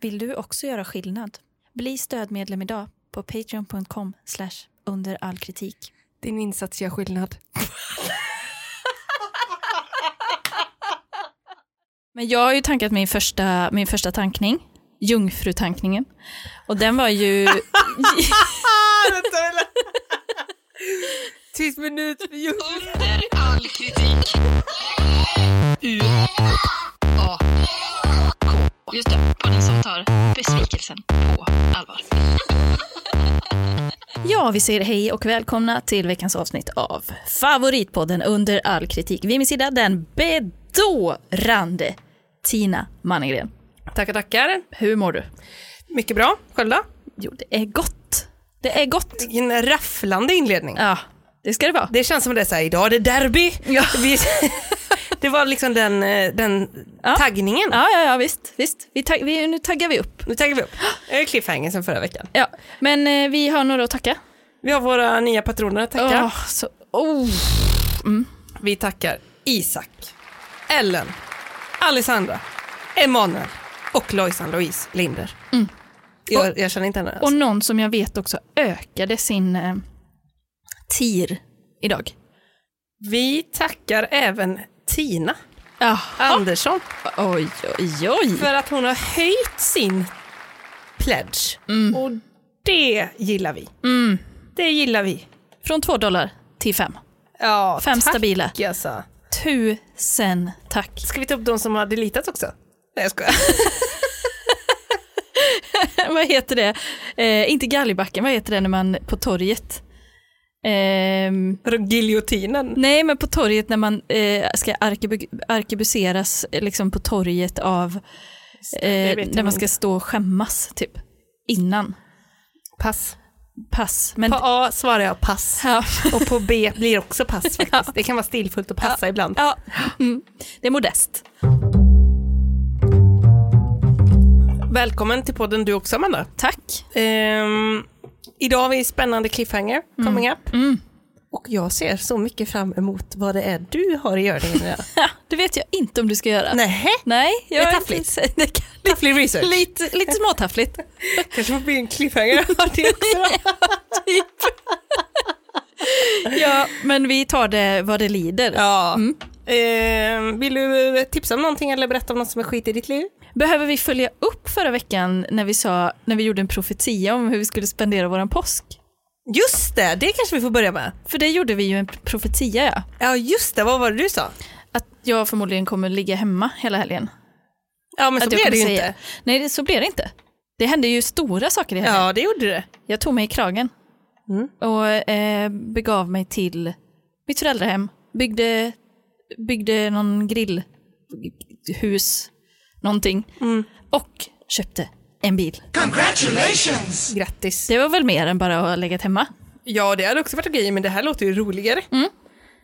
Vill du också göra skillnad? Bli stödmedlem idag på patreon.com under all kritik. Din insats gör skillnad. Men jag har ju tankat min första, min första tankning, jungfrutankningen. Och den var ju... Tyst minut för jul. Under all kritik. U A K. Just det, podden som tar besvikelsen på allvar. Ja, vi säger hej och välkomna till veckans avsnitt av favoritpodden Under all kritik. Vid min sida den bedårande Tina Mannegren. Tackar, tackar. Hur mår du? Mycket bra. Själv då? Jo, det är gott. Det är gott. Vilken rafflande inledning. Ja, det ska det vara. Det känns som det är så här, idag är det derby. Ja. Vi, det var liksom den, eh, den Ja. taggningen. Ja, ja, ja visst. visst. Vi tag- vi, nu taggar vi upp. Nu taggar vi upp. Det är cliffhanger sen förra veckan. Ja, men eh, vi har några att tacka. Vi har våra nya patroner att tacka. Åh, så, oh. Vi tackar Isak, Ellen, Alessandra, Emanuel och Lojsan Louise Linder. Jag, jag känner inte henne Och alls. någon som jag vet också ökade sin eh, tir idag. Vi tackar även Tina Ja. Andersson Oj, oj, oj. för att hon har höjt sin pledge. Mm. Och det gillar vi. Det gillar vi. Från två dollar till fem. Ja, Fem tack, stabila. Alltså. Tusen tack. Ska vi ta upp de som har deletat också? Nej, jag skojar. vad heter det? Eh, inte galgbacken, vad heter det när man på torget? Ehm, Giljotinen. nej, men på torget när man eh, ska arkebu- arkebuseras eh, liksom på torget av eh, det vet när jag man ska inte. stå och skämmas typ innan. Pass. Pass. Men, På A svarar jag pass. ja, Och på B blir också pass faktiskt. Det kan vara stilfullt att passa ibland. ja, mm, det är modest. Välkommen till podden du också Amanda. Tack. Ehm, idag har vi spännande cliffhanger Mm. coming up. Och jag ser så mycket fram emot vad det är du har i görningen idag. Ja, det vet jag inte om du ska göra. Nähä? Nej, jag Det är är taffligt. inte- Det kan, Tafflig research. lite, lite småtaffligt. kanske får bli en cliffhanger av det också. ja, men vi tar det vad det lider. ja. Ehm, vill du tipsa om någonting eller berätta om något som är skit i ditt liv? Behöver vi följa upp förra veckan när vi, sa, när vi gjorde en profetia om hur vi skulle spendera våran påsk? Just det, det kanske vi får börja med. För det gjorde vi ju en profetia, ja. Ja, just det, vad var det du sa? Att jag förmodligen kommer ligga hemma hela helgen. Ja, men så att jag blev det kommer ju säga- inte. Nej, det, så blev det inte. Det hände ju stora saker i helgen. Ja, det gjorde det. Jag tog mig i kragen Mm. och eh, begav mig till mitt föräldrahem. Byggde, byggde någon grillhus, någonting. Mm. Och köpte en bil. Grattis. Det var väl mer än bara att ha legat hemma. Ja, det hade också varit okej, men det här låter ju roligare.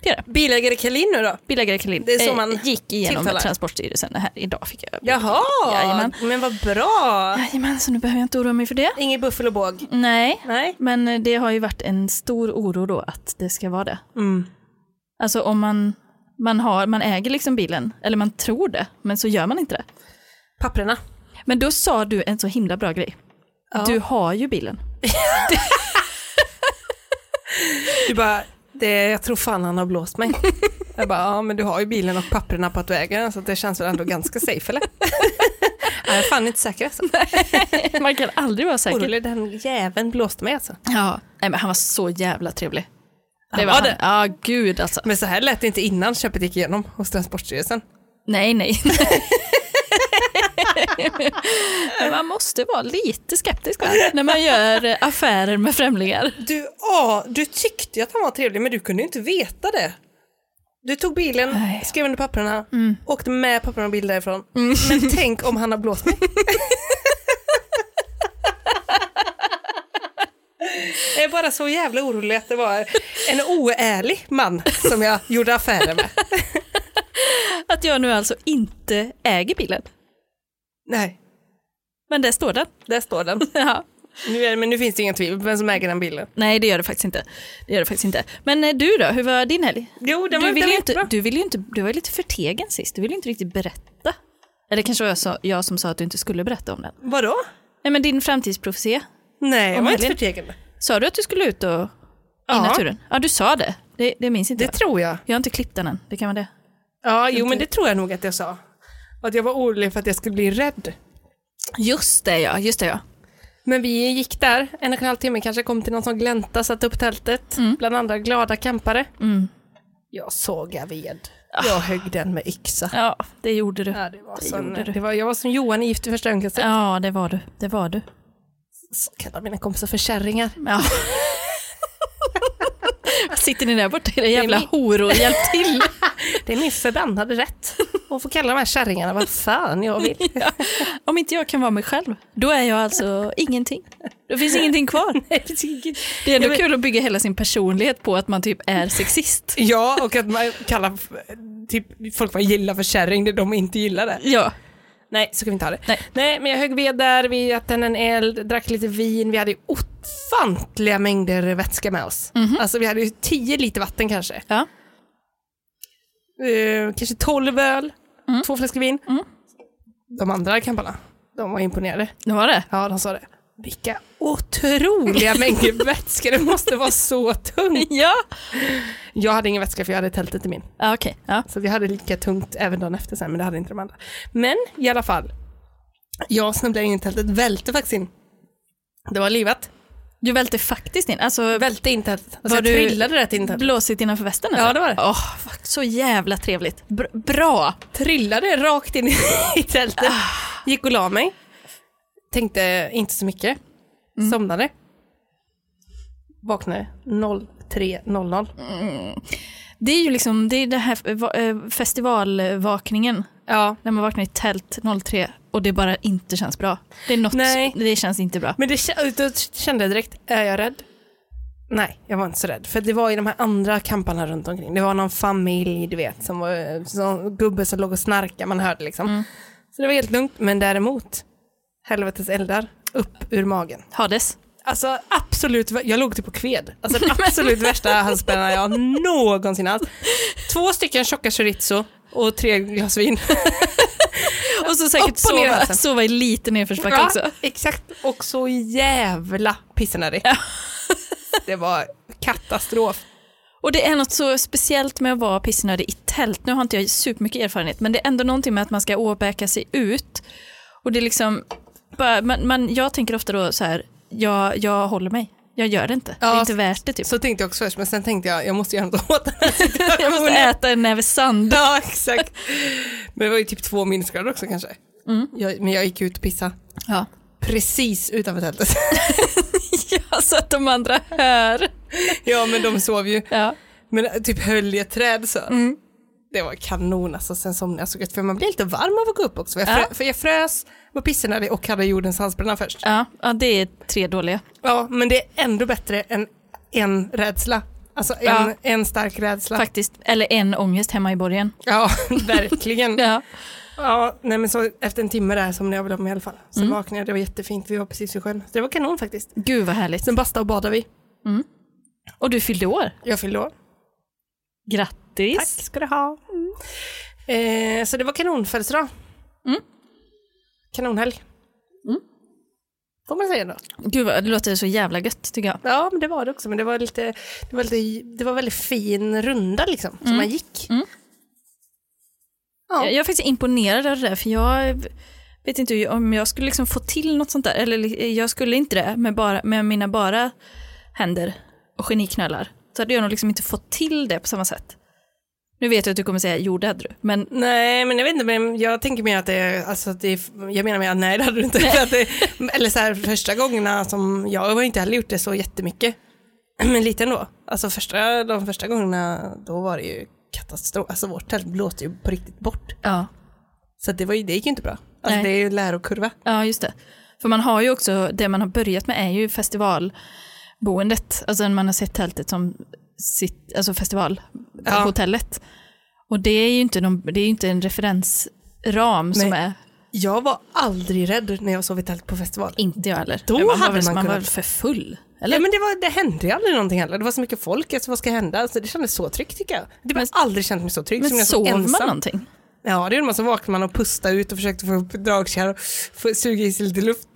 Det är det. Bilägare Kalin nu då? Bilägare Kalin Det är så eh, man gick igenom tilltalar. Transportstyrelsen det här idag. fick jag. Jaha, Jajamän. men vad bra. Jajamän, så nu behöver jag inte oroa mig för det. Ingen buffel och båg. Nej, Nej. men eh, det har ju varit en stor oro då att det ska vara det. Mm. Alltså om man, man, har, man äger liksom bilen, eller man tror det, men så gör man inte det. Papperna. Men då sa du en så himla bra grej. Ja. Du har ju bilen. Du bara, det, jag tror fan han har blåst mig. jag bara, ja men du har ju bilen och papperna på att du äger den, så det känns väl ändå ganska safe eller? Nej, jag är fan inte säker alltså. Man kan aldrig vara säker. Orolig, den jäveln blåste mig alltså. Ja. Nej, men han var så jävla trevlig. Han var det? Ja, gud alltså. Men så här lät det inte innan köpet gick igenom hos Transportstyrelsen. Nej, nej. Men man måste vara lite skeptisk va? när man gör eh, affärer med främlingar. Du, ja, du tyckte ju att han var trevlig, men du kunde ju inte veta det. Du tog bilen, Nej. skrev under papperna, åkte med papperna och bild därifrån. Men tänk om han har blåst mig. Jag är bara så jävla orolig att det var en oärlig man som jag gjorde affärer med. Att jag nu alltså inte äger bilen. Nej, Men där står den. där står den. Ja. Nu är, men nu finns det ingen tvivel på vem som äger den bilen. Nej, det gör det faktiskt inte. Det gör det faktiskt inte. Men eh, du då, hur var din helg? Jo, den Du var, ville den ju var inte, jättebra. du ville ju inte, du var ju lite förtegen sist, du ville ju inte riktigt berätta. Eller kanske var jag, sa, jag som sa att du inte skulle berätta om den. Vadå? Nej men din framtidsprofetia. Nej, jag var inte helgen. förtegen. Sa du att du skulle ut och... Ja. i naturen? Ja, du sa det. Det, det minns inte Det jag. tror jag. Jag har inte klippt den än, det kan vara det. Ja, jo men det tror jag nog att jag sa. Att jag var orolig för att jag skulle bli rädd. Just det ja, just det ja. Men vi gick där en och en halv timme, kanske kom till någon som glänta, satte upp tältet bland andra glada campare. Mm. Ah. Jag såg ved. Jag högg den med yxa. Ja, det gjorde du. Ja, det var som, gjorde du. det var, jag var som Johan i Gift i första ögonkastet. Ja, det var du. Det var du. Så kallar mina kompisar för kärringar. Ja. Vad Sitter ni där borta era jävla min- horor? Hjälp till! Det är min förbannade rätt att få kalla de här kärringarna vad fan jag vill. Om inte jag kan vara mig själv, då är jag alltså ingenting. Då finns ingenting kvar. Det är ändå kul att bygga hela sin personlighet på att man typ är sexist. Ja, och att man kallar f- typ, folk man gillar för kärring, det de inte gillar det. Ja, Nej, så kan vi inte ha det. Nej. men jag högg ved där, vi åt en eld, drack lite vin, vi hade ju ofantliga mängder vätska med oss. Mhm. Alltså vi hade ju 10 liter vatten kanske. ja. Eh, kanske 12 öl, Mm. två flaskor vin. De andra kamparna, de var imponerade. det var det. Ja, de sa det. Vilka otroliga mängder vätska, det måste vara så tungt. Ja, Jag hade ingen vätska för jag hade tältet i min. ja okej. Ja. Så vi hade lika tungt även dagen efter sen, men det hade inte de andra. Men i alla fall, jag snubblade in i tältet, välte faktiskt in. Det var livat. Du välte faktiskt in. Alltså, Välte in tältet. Alltså, Var jag du- trillade rätt in i tältet. blåsigt innanför västen? Ja, det var det. Åh, fuck, så jävla trevligt. Br- bra! Trillade rakt in i tältet. Ah. Gick och la mig. Tänkte inte så mycket. Mm. Somnade. Vaknade 03.00. Det är ju liksom, det är det här eh, va- eh, festivalvakningen. Ja. När man vaknar i tält 03 och det bara inte känns bra. Det är något, Nej. det känns inte bra. Men det, kä- då kände jag direkt, är jag rädd? Nej, jag var inte så rädd. För det var ju de här andra kamparna runt omkring. Det var någon familj, du vet, som var som gubbe som låg och snarkade, man hörde liksom. Så det var helt lugnt, men däremot, helvetes eldar, upp ur magen. Hades. Alltså absolut, vä- jag låg typ på kved. Alltså den absolut värsta halsbrännan jag någonsin haft. Två stycken tjocka chorizo och tre glas vin. Och så säkert Upp och ner i sova, halsen. sova i lite nedförsbacke också. Exakt, och så jävla pissnödig. det var katastrof. Och det är något så speciellt med att vara pissnödig i tält. Nu har inte jag supermycket erfarenhet, men det är ändå någonting med att man ska åbäka sig ut. Och det är liksom, bara, man, man, jag tänker ofta då så här, jag, jag håller mig. Jag gör det inte. det är Ja, inte värt det typ. Så tänkte jag också först, men sen tänkte jag, jag måste göra något åt den här jag måste situationen. äta en näve sand. ja, exakt. Men det var ju typ två minusgrader också kanske. Mm. Jag, men jag gick ut och pissade. Ja. Precis utanför tältet. ja, så att de andra hör. ja, men de sov ju. Ja. Men eh, typ höll i ett träd så. Mm. Det var kanon alltså, sen somnade jag så gött. För man blir lite varm av att gå upp också. För jag, frö, Ja. för jag frös, var pissnödig och hade jordens halsbränna först. Ja, ja, det är tre dåliga. Ja, men det är ändå bättre än en rädsla. Alltså en, Ja. en stark rädsla. Faktiskt. Eller en ångest hemma i borgen. Ja, verkligen. ja. Ja. nej men så efter en timme där som jag väl om i alla fall. Så vaknade jag, det var jättefint, vi var precis vid sjön. Så det var kanon faktiskt. Gud vad härligt. Sen basta och badade vi. Och du fyllde år. Jag fyllde år. Grattis. Tack ska du ha. Eh, så det var kanonfödelsedag. Mm. Kanonhelg. Mm. Får man säga då. Gud, vad- det låter så jävla gött tycker jag. Ja, men det var det också. Men det var lite, det var lite, det var väldigt fin runda liksom, som man gick. Mm. Ja. Jag jag är faktiskt imponerad av det där, för jag vet inte hur- om jag skulle liksom få till något sånt där, eller li- jag skulle inte det med, bara, med mina bara händer och geniknölar. Så hade jag nog liksom inte fått till det på samma sätt. Nu vet jag att du kommer säga, jo det hade du, men Nej, men jag vet inte, men jag tänker mer att det, alltså att det jag menar mer att nej det hade du inte. För att det, eller så här första gångerna som, jag har ju inte heller gjort det så jättemycket. Men lite ändå. Alltså första, de första gångerna, då var det ju katastrof. Alltså vårt tält blåste ju på riktigt bort. ja. Så att det, var ju, det gick ju inte bra. Alltså Nej. det är ju lärokurva. Ja, just det. För man har ju också, det man har börjat med är ju festivalboendet. Alltså man har sett tältet som sitt, alltså Ja. festivalhotellet. Och det är ju inte, någon, det är ju inte en referensram som Nej. är, Jag var aldrig rädd när jag sov i tält på festival. inte jag heller. Då man var hade väl- man man var kunnat. väl för full? Eller? Ja, men det, var, det hände ju aldrig någonting heller. Det var så mycket folk, alltså vad ska hända? Alltså det kändes så tryggt tycker jag. Det har aldrig känt mig så trygg men som när jag sov ensam. man någonting? Ja, det gjorde man. Så vaknade man och pustade ut och försökte få upp dragkärr och få- suga i sig lite luft.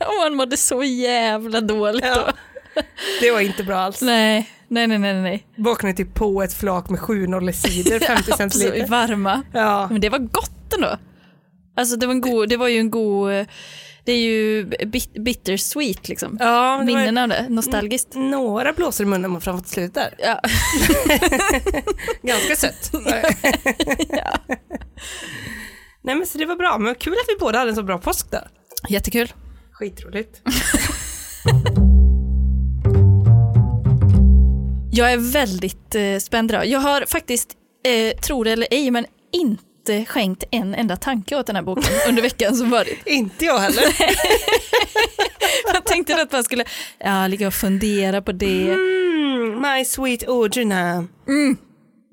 Och man mådde så jävla dåligt då. Ja. Det var inte bra alls. Nej, nej, nej, nej. nej. Vaknade typ på ett flak med 7 cider 50 cent Absolut, liter. varma. Ja. Men det var gott ändå. Alltså det var, en god, det var ju en god, eh, det är ju bit, bittersweet liksom. ja men det var Mm. Minnen av det, nostalgiskt. några blåsor i munnen man framåt slut där. Ja. Ganska sött. Nej men så det var bra, men kul att vi båda hade en så bra påsk där. Jättekul. Skitroligt. Jag är väldigt eh, spänd idag. Jag har faktiskt, eh, tro det eller ej, men inte skänkt en enda tanke åt den här boken under veckan som varit. Inte jag heller. Jag tänkte att man skulle ja, ligga och fundera på det. Mm, my sweet Audrina.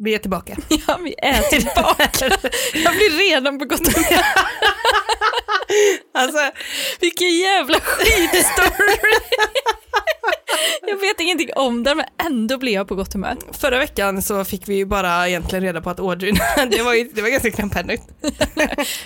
Vi är tillbaka. Ja, vi Mm. är tillbaka. Jag blir redan på gott humör. Alltså, Vilken jävla skitstory! Jag vet ingenting om den, men ändå blir jag på gott humör. förra veckan så fick vi ju bara egentligen reda på att Audrina, det var, ju, det var ganska knapphändigt.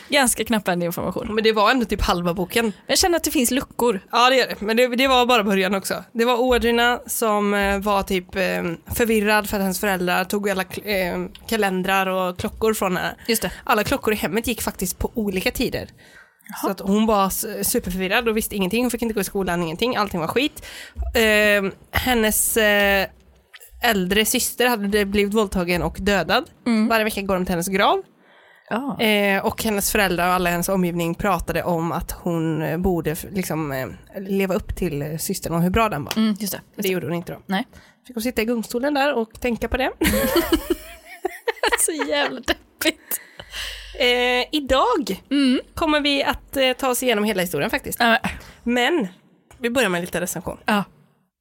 Ganska knapphändig information. Men det var ändå typ halva boken. Jag känner att det finns luckor. Ja det gör det, men det, det var bara början också. Det var Audrina som eh, var typ eh, förvirrad för att hennes föräldrar tog alla kl- eh, kalendrar och klockor från henne. Just det. Alla klockor i hemmet gick faktiskt på olika tider. Så att hon var s- superförvirrad och visste ingenting, hon fick inte gå i skolan, ingenting, allting var skit. Eh, hennes eh, äldre syster hade blivit våldtagen och dödad. Varje vecka går de till hennes grav. Mm. Ja. Eh, och hennes föräldrar och alla i hennes omgivning pratade om att hon eh, borde f- liksom, eh, leva upp till eh, systern och hur bra den var. Mm, just det. Det gjorde hon inte då. Nej. Fick hon sitta i gungstolen där och tänka på det. Så jävla deppigt. Eh, idag Mm. kommer vi att eh, ta oss igenom hela historien faktiskt. Ja, Men vi börjar med lite recension. ja.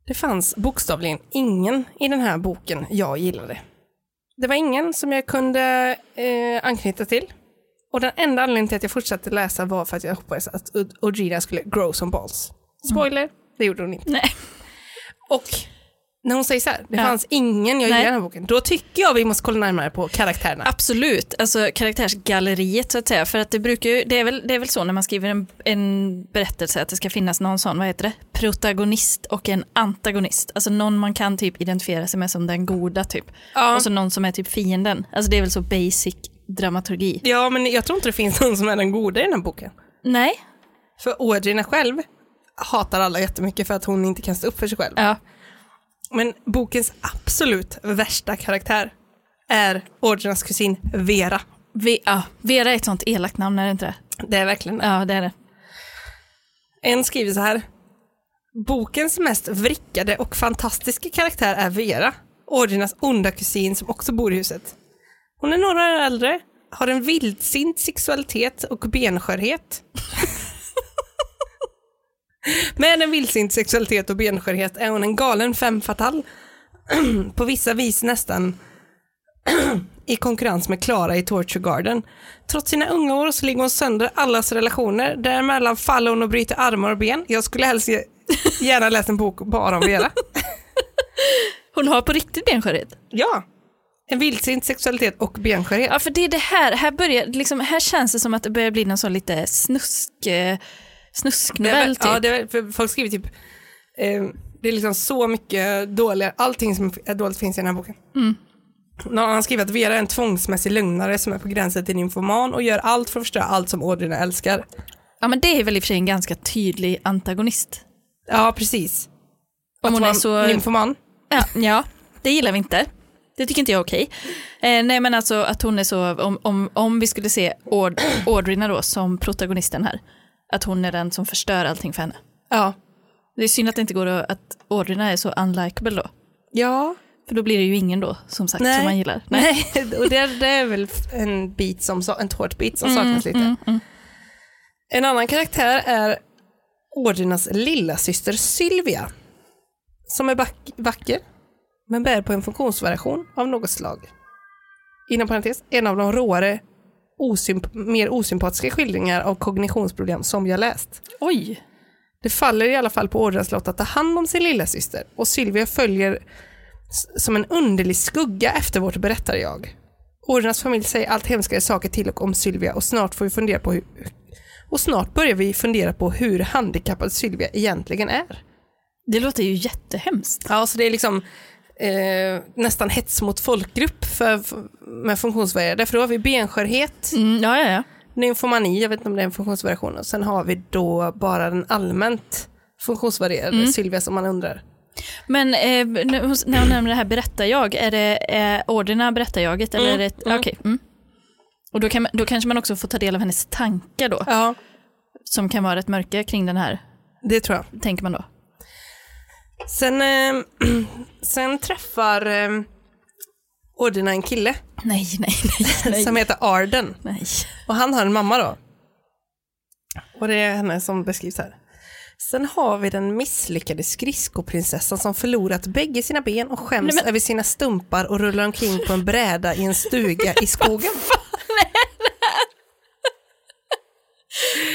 Det fanns bokstavligen ingen i den här boken jag gillade. Det var ingen som jag kunde eh, anknyta till. Och den enda anledningen till att jag fortsatte läsa var för att jag hoppades att Odrina skulle grow some balls. Spoiler, det gjorde hon inte. Nej. Och när hon säger så här, det Ja. fanns ingen jag gillade Nej. i den här boken, då tycker jag vi måste kolla närmare på karaktärerna. Absolut, alltså karaktärsgalleriet så att säga. För att det, brukar ju, det, är väl, det är väl så när man skriver en, en berättelse att det ska finnas någon sån, vad heter det, protagonist och en antagonist. Alltså någon man kan typ identifiera sig med som den goda typ. Ja. Och så någon som är typ fienden. Alltså det är väl så basic dramaturgi. Ja, men jag tror inte det finns någon som är den goda i den här boken. Nej. För Audrina själv hatar alla jättemycket för att hon inte kan stå upp för sig själv. Ja. Men bokens absolut värsta karaktär är Audrinas kusin Vera. Ve- ja. Vera är ett sånt elakt namn, är det inte det? Det är verkligen Ja, det är det. En skriver så här. Bokens mest vrickade och fantastiska karaktär är Vera. Audrinas onda kusin som också bor i huset. Hon är några år äldre, har en vildsint sexualitet och benskörhet. Med en vildsint sexualitet och benskörhet är hon en galen femme fatal. På vissa vis nästan i konkurrens med Klara i Torture Garden. Trots sina unga år så ligger hon sönder allas relationer. Däremellan faller hon och bryter armar och ben. Jag skulle helst ge- gärna läsa en bok bara om Vera. Hon har på riktigt benskörhet. Ja, en vildsint sexualitet och benskörhet. Ja, för det är det här. Här, börjar, liksom, här känns det som att det börjar bli någon sån lite snusk, eh, snusknovell typ. Ja, det är, för folk skriver typ, eh, det är liksom så mycket dåliga, allting som är dåligt finns i den här boken. Mm. Någon annan skriver att Vera är en tvångsmässig lögnare som är på gränsen till en infoman och gör allt för att förstöra allt som Audrina älskar. Ja, men det är väl i och för sig en ganska tydlig antagonist. Ja, precis. Om hon är vara så... Nymfoman. Ja, ja, det gillar vi inte. Det tycker inte jag är okej. Eh, nej, men alltså att hon är så, om, om, om vi skulle se Aud- Audrina då som protagonisten här, att hon är den som förstör allting för henne. Ja. Det är synd att det inte går att, att Audrina är så unlikable då. Ja. För då blir det ju ingen då, som sagt, Nej. som man gillar. Nej. Nej, och det, det är väl en bit som, sa- en tårtbit Mm, som saknas lite. En annan karaktär är Ordinas lilla syster Sylvia. Som är back- vacker, men bär på en funktionsvariation av något slag. Inom parentes, en av de råare, osymp- mer osympatiska skildringar av kognitionsproblem som jag läst. Oj! Det faller i alla fall på Ordrans lott att ta hand om sin lilla syster och Sylvia följer s- som en underlig skugga efter vårt berättarjag. Ordnas familj säger allt hemskare saker till och om Sylvia och snart får vi fundera på hur... Och snart börjar vi fundera på hur handikappad Sylvia egentligen är. Det låter ju jättehemskt. Ja, så det är liksom eh, nästan hets mot folkgrupp för, med funktionsvariationer. För då har vi benskörhet, Mm, ja, ja, ja. nymfomani, jag vet inte om det är en funktionsvariation. Och sen har vi då bara den allmänt funktionsvarierade Sylvia som man undrar. Men eh, nu- hos- när hon nämner det här berättar jag, är det eh, orderna berättar jaget? Eller är det, okej, mm. Och då, kan, man- då kanske man också får ta del av hennes tankar då, Ja, som kan vara rätt mörka kring den här, det tror jag. tänker man då. Sen, eh, sen träffar eh, Ordina en kille Nej, nej, nej, som nej. heter Arden. nej. Och han har en mamma då. Och det är henne som beskrivs här. Sen har vi den misslyckade skridskoprinsessan som förlorat bägge sina ben och skäms Nej, men- över sina stumpar och rullar omkring på en bräda i en stuga i skogen.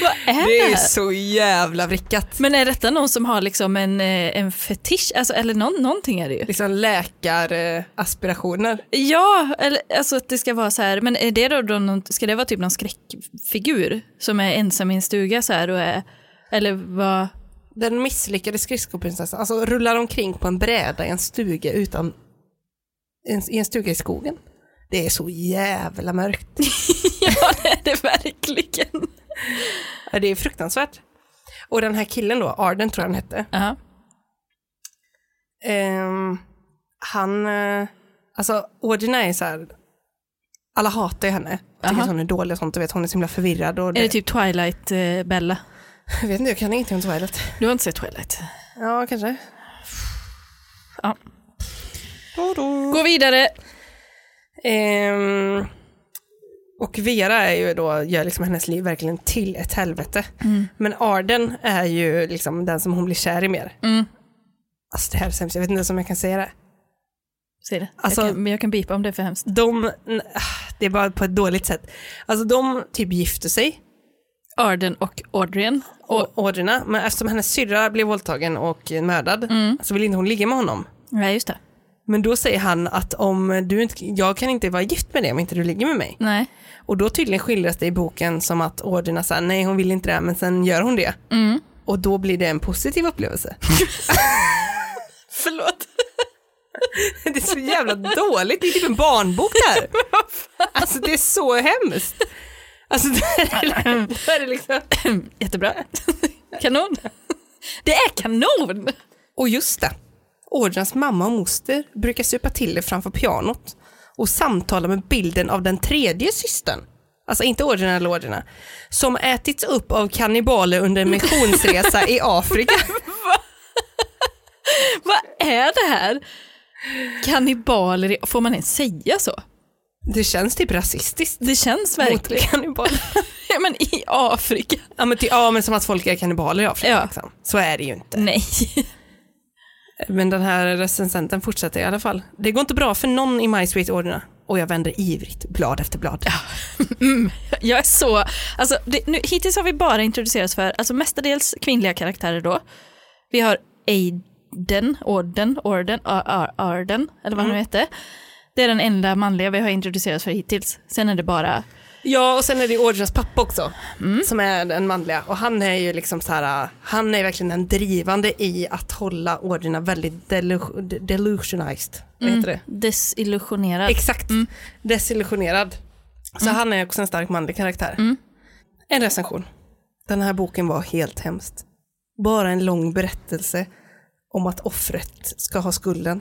Vad är det, här? så jävla vrickat. Men är detta någon som har liksom en, eh, en fetisch, alltså, eller någon, någonting är det ju. Liksom eh, läkaraspirationer. Ja, eller, alltså att det ska vara så här, men är det då, då någon, ska det vara typ någon skräckfigur som är ensam i en stuga så här och är, eller vad? Den misslyckade skridskoprinsessan alltså, rullar omkring på en bräda i en stuga utan... en- I en stuga i skogen. Det är så jävla mörkt. Ja, det är det verkligen. Ja, det är fruktansvärt. Och den här killen då, Arden tror jag han hette, Ja. ehm, han, eh, alltså Ordina är så här, alla hatar ju henne. Tycker Aha. att hon är dålig och sånt, du vet hon är så himla förvirrad. Och det, Är det typ Twilight-Bella? Jag vet inte, jag kan ingenting om Twilight. Du har inte sett Twilight? Ja, kanske. Ja. Då, då. Gå vidare. Ehm, och Vera är ju då, gör liksom hennes liv verkligen till ett helvete. Mm. Men Arden är ju liksom den som hon blir kär i mer. Mm. Alltså det här är sämst, jag vet inte ens om jag kan säga det. Säg det. Alltså- jag, kan, men jag kan bipa om det är för hemskt. De, n- ah, det är bara på ett dåligt sätt. Alltså de typ gifter sig, Arden och Audrien. Och, och Audrina, men eftersom hennes syrra blev våldtagen och eh, mördad Mm. så vill inte hon ligga med honom. nej, just det. Men då säger han att om du inte, jag kan inte vara gift med dig om inte du ligger med mig. Nej. Och då tydligen skildras det i boken som att Audrina säger nej hon vill inte det men sen gör hon det. Och då blir det en positiv upplevelse. Förlåt. Det är så jävla dåligt, det är typ en barnbok där. Alltså det är så hemskt. Alltså det här är, det här är liksom... Jättebra. Kanon. Det är kanon! Och just det, Audrinas mamma och moster brukar supa till det framför pianot och samtala med bilden av den tredje systern, alltså inte Audrina eller Audrina, som ätits upp av kannibaler under en missionsresa i Afrika. Vad är det här? Kannibaler, i- får man ens säga så? Det känns typ rasistiskt. Det känns Mot verkligen. kannibaler. Ja, men i Afrika. Ja men, ty, ja men som att folk är kannibaler i Afrika. Ja. Liksom. Så är det ju inte. Nej. Men den här recensenten fortsätter i alla fall. Det går inte bra för någon i My Sweet Audrina. Och jag vänder ivrigt blad efter blad. Jag är så... Alltså, det, nu, hittills har vi bara introducerats för alltså, mestadels kvinnliga karaktärer då. Vi har Aiden, Orden, Orden, Ar- Ar- Arden, eller vad han nu hette. Det är den enda manliga vi har introducerats för hittills. Sen är det bara... Ja, och sen är det ju Audrinas pappa också, som är den manliga. Och han är ju liksom så här, han är verkligen den drivande i att hålla Audrina väldigt delu- de- delusionized. Vad heter det? Desillusionerad. Exakt, desillusionerad. Så han är också en stark manlig karaktär. En recension. Den här boken var helt hemskt. Bara en lång berättelse om att offret ska ha skulden.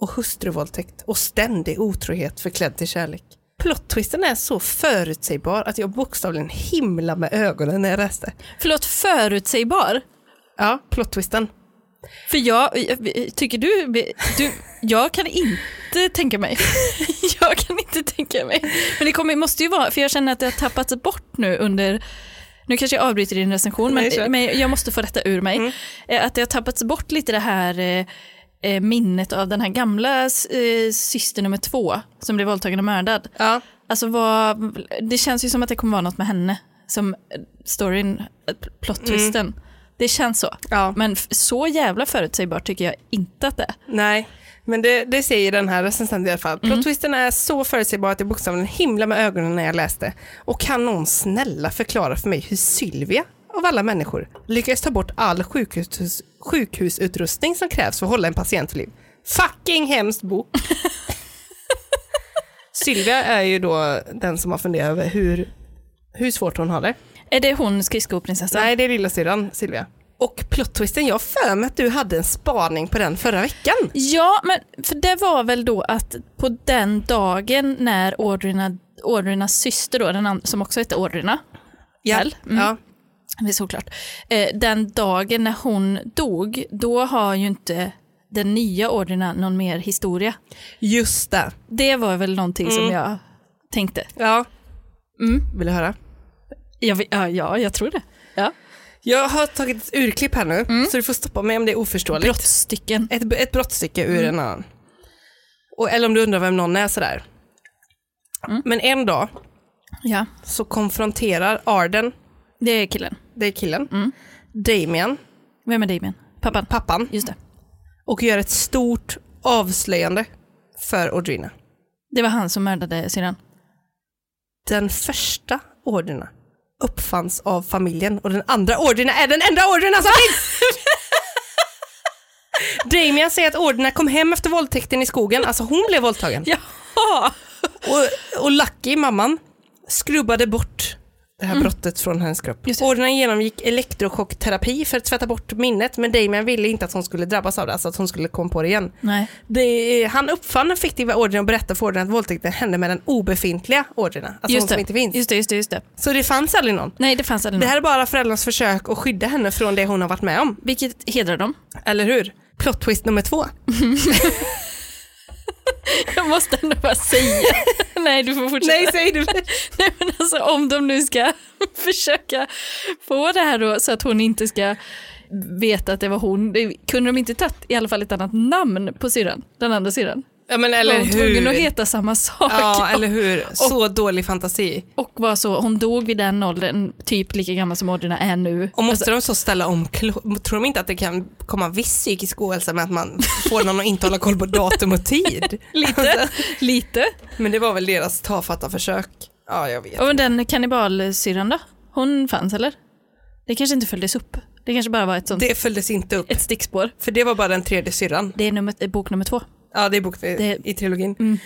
Och hustruvåldtäkt och ständig otrohet förklädd till kärlek. Plot-twisten är så förutsägbar att jag bokstavligen himlade med ögonen när jag läste. Förlåt, förutsägbar? Ja, plot-twisten. För jag, jag- tycker du, du, jag kan inte tänka mig. Jag kan inte tänka mig. Men det kommer, måste ju vara, för jag känner att det har tappats bort nu under, nu kanske jag avbryter din recension, men, Nej, kör. men jag måste få detta ur mig. Eh, Att det har tappats bort lite det här eh, eh, minnet av den här gamla eh, syster nummer två som blev våldtagen och mördad. Ja. Alltså vad, det känns ju som att det kommer vara något med henne, som eh, storyn, eh, plot-twisten. Det känns så. Mm. ja. Men f- så jävla förutsägbart tycker jag inte att det är. Nej, Men det, det säger den här recensenten i alla fall. Plot twisten är så förutsägbar att jag bokstavligen himlade med ögonen när jag läste. Och kan någon snälla förklara för mig hur Sylvia, av alla människor, lyckas ta bort all sjukhus, sjukhusutrustning som krävs för att hålla en patient vid liv? Fucking hemskt bok! Sylvia är ju då den som har funderat över hur, hur svårt hon har det. Är det hon skridskoprinsessan? Nej, det är lillasyrran Silvia. Och plot-twisten, jag har för mig att du hade en spaning på den förra veckan. Ja, men för det var väl då att på den dagen när Audrina, Audrinas syster då, den and- som också hette Audrina, väl? Mm. ja. Det är såklart. Eh, den dagen när hon dog, då har ju inte den nya Audrina någon mer historia. Just det. Det var väl någonting Mm. som jag tänkte. Ja. Mm. Vill du höra? Jag, vet- ja, ja, jag tror det. Ja. Jag har tagit ett urklipp här nu, så du får stoppa mig om det är oförståeligt. Brottsstycken. Ett, ett brottstycke ur en annan. Och, eller om du undrar vem någon är sådär. Men en dag Ja, så konfronterar Arden, det är killen. det är killen, Damien, Vem är Damien? Pappan? pappan, Just det. och gör ett stort avslöjande för Audrina. Det var han som mördade syrran. Den första ordena uppfanns av familjen och den andra ordena är den enda ordena som finns! Damien säger att ordena kom hem efter våldtäkten i skogen, alltså hon blev våldtagen. Jaha! Och, och Lucky, mamman, skrubbade bort det här brottet från hennes kropp. Mm. Just det. Ordena genomgick elektrochockterapi för att tvätta bort minnet, men Damien ville inte att hon skulle drabbas av det, alltså att hon skulle komma på det igen. Nej. Det, eh, han uppfann den fiktiva ordern och berättade för ordern att våldtäkten hände med den obefintliga ordern, alltså hon Just som det. inte finns. just det, just det, just det. Så det fanns aldrig någon. Nej, det fanns aldrig Det någon. här är bara föräldrarnas försök att skydda henne från det hon har varit med om. Vilket hedrar dem. Eller hur? Plot twist nummer två. Jag måste ändå bara säga. Nej, du får fortsätta. Nej, säg du. Nej men alltså om de nu ska försöka få det här då så att hon inte ska veta att det var hon. Det, kunde de inte tagit i alla fall ett annat namn på syrran, den andra syrran? Ja, men Var eller hon tvungen att hur? heta samma sak? Ja, eller hur? Så dålig fantasi. Och var så, hon dog vid den åldern, typ lika gammal som Audrina är nu. Och måste de så ställa om, klo- tror de inte att det kan komma viss psykisk ohälsa med att man får någon att inte hålla koll på datum och tid? Lite, lite. Men det var väl deras tafatta försök. Ja, jag vet. Och den kannibalsyrran då? Hon fanns eller? Det kanske inte följdes upp. Det kanske bara var ett sånt, Det följdes inte upp, ett stickspår. för det var bara den tredje syrran. Det är nummer, eh, bok nummer två. Ja, det är bok Det- Mm. i trilogin.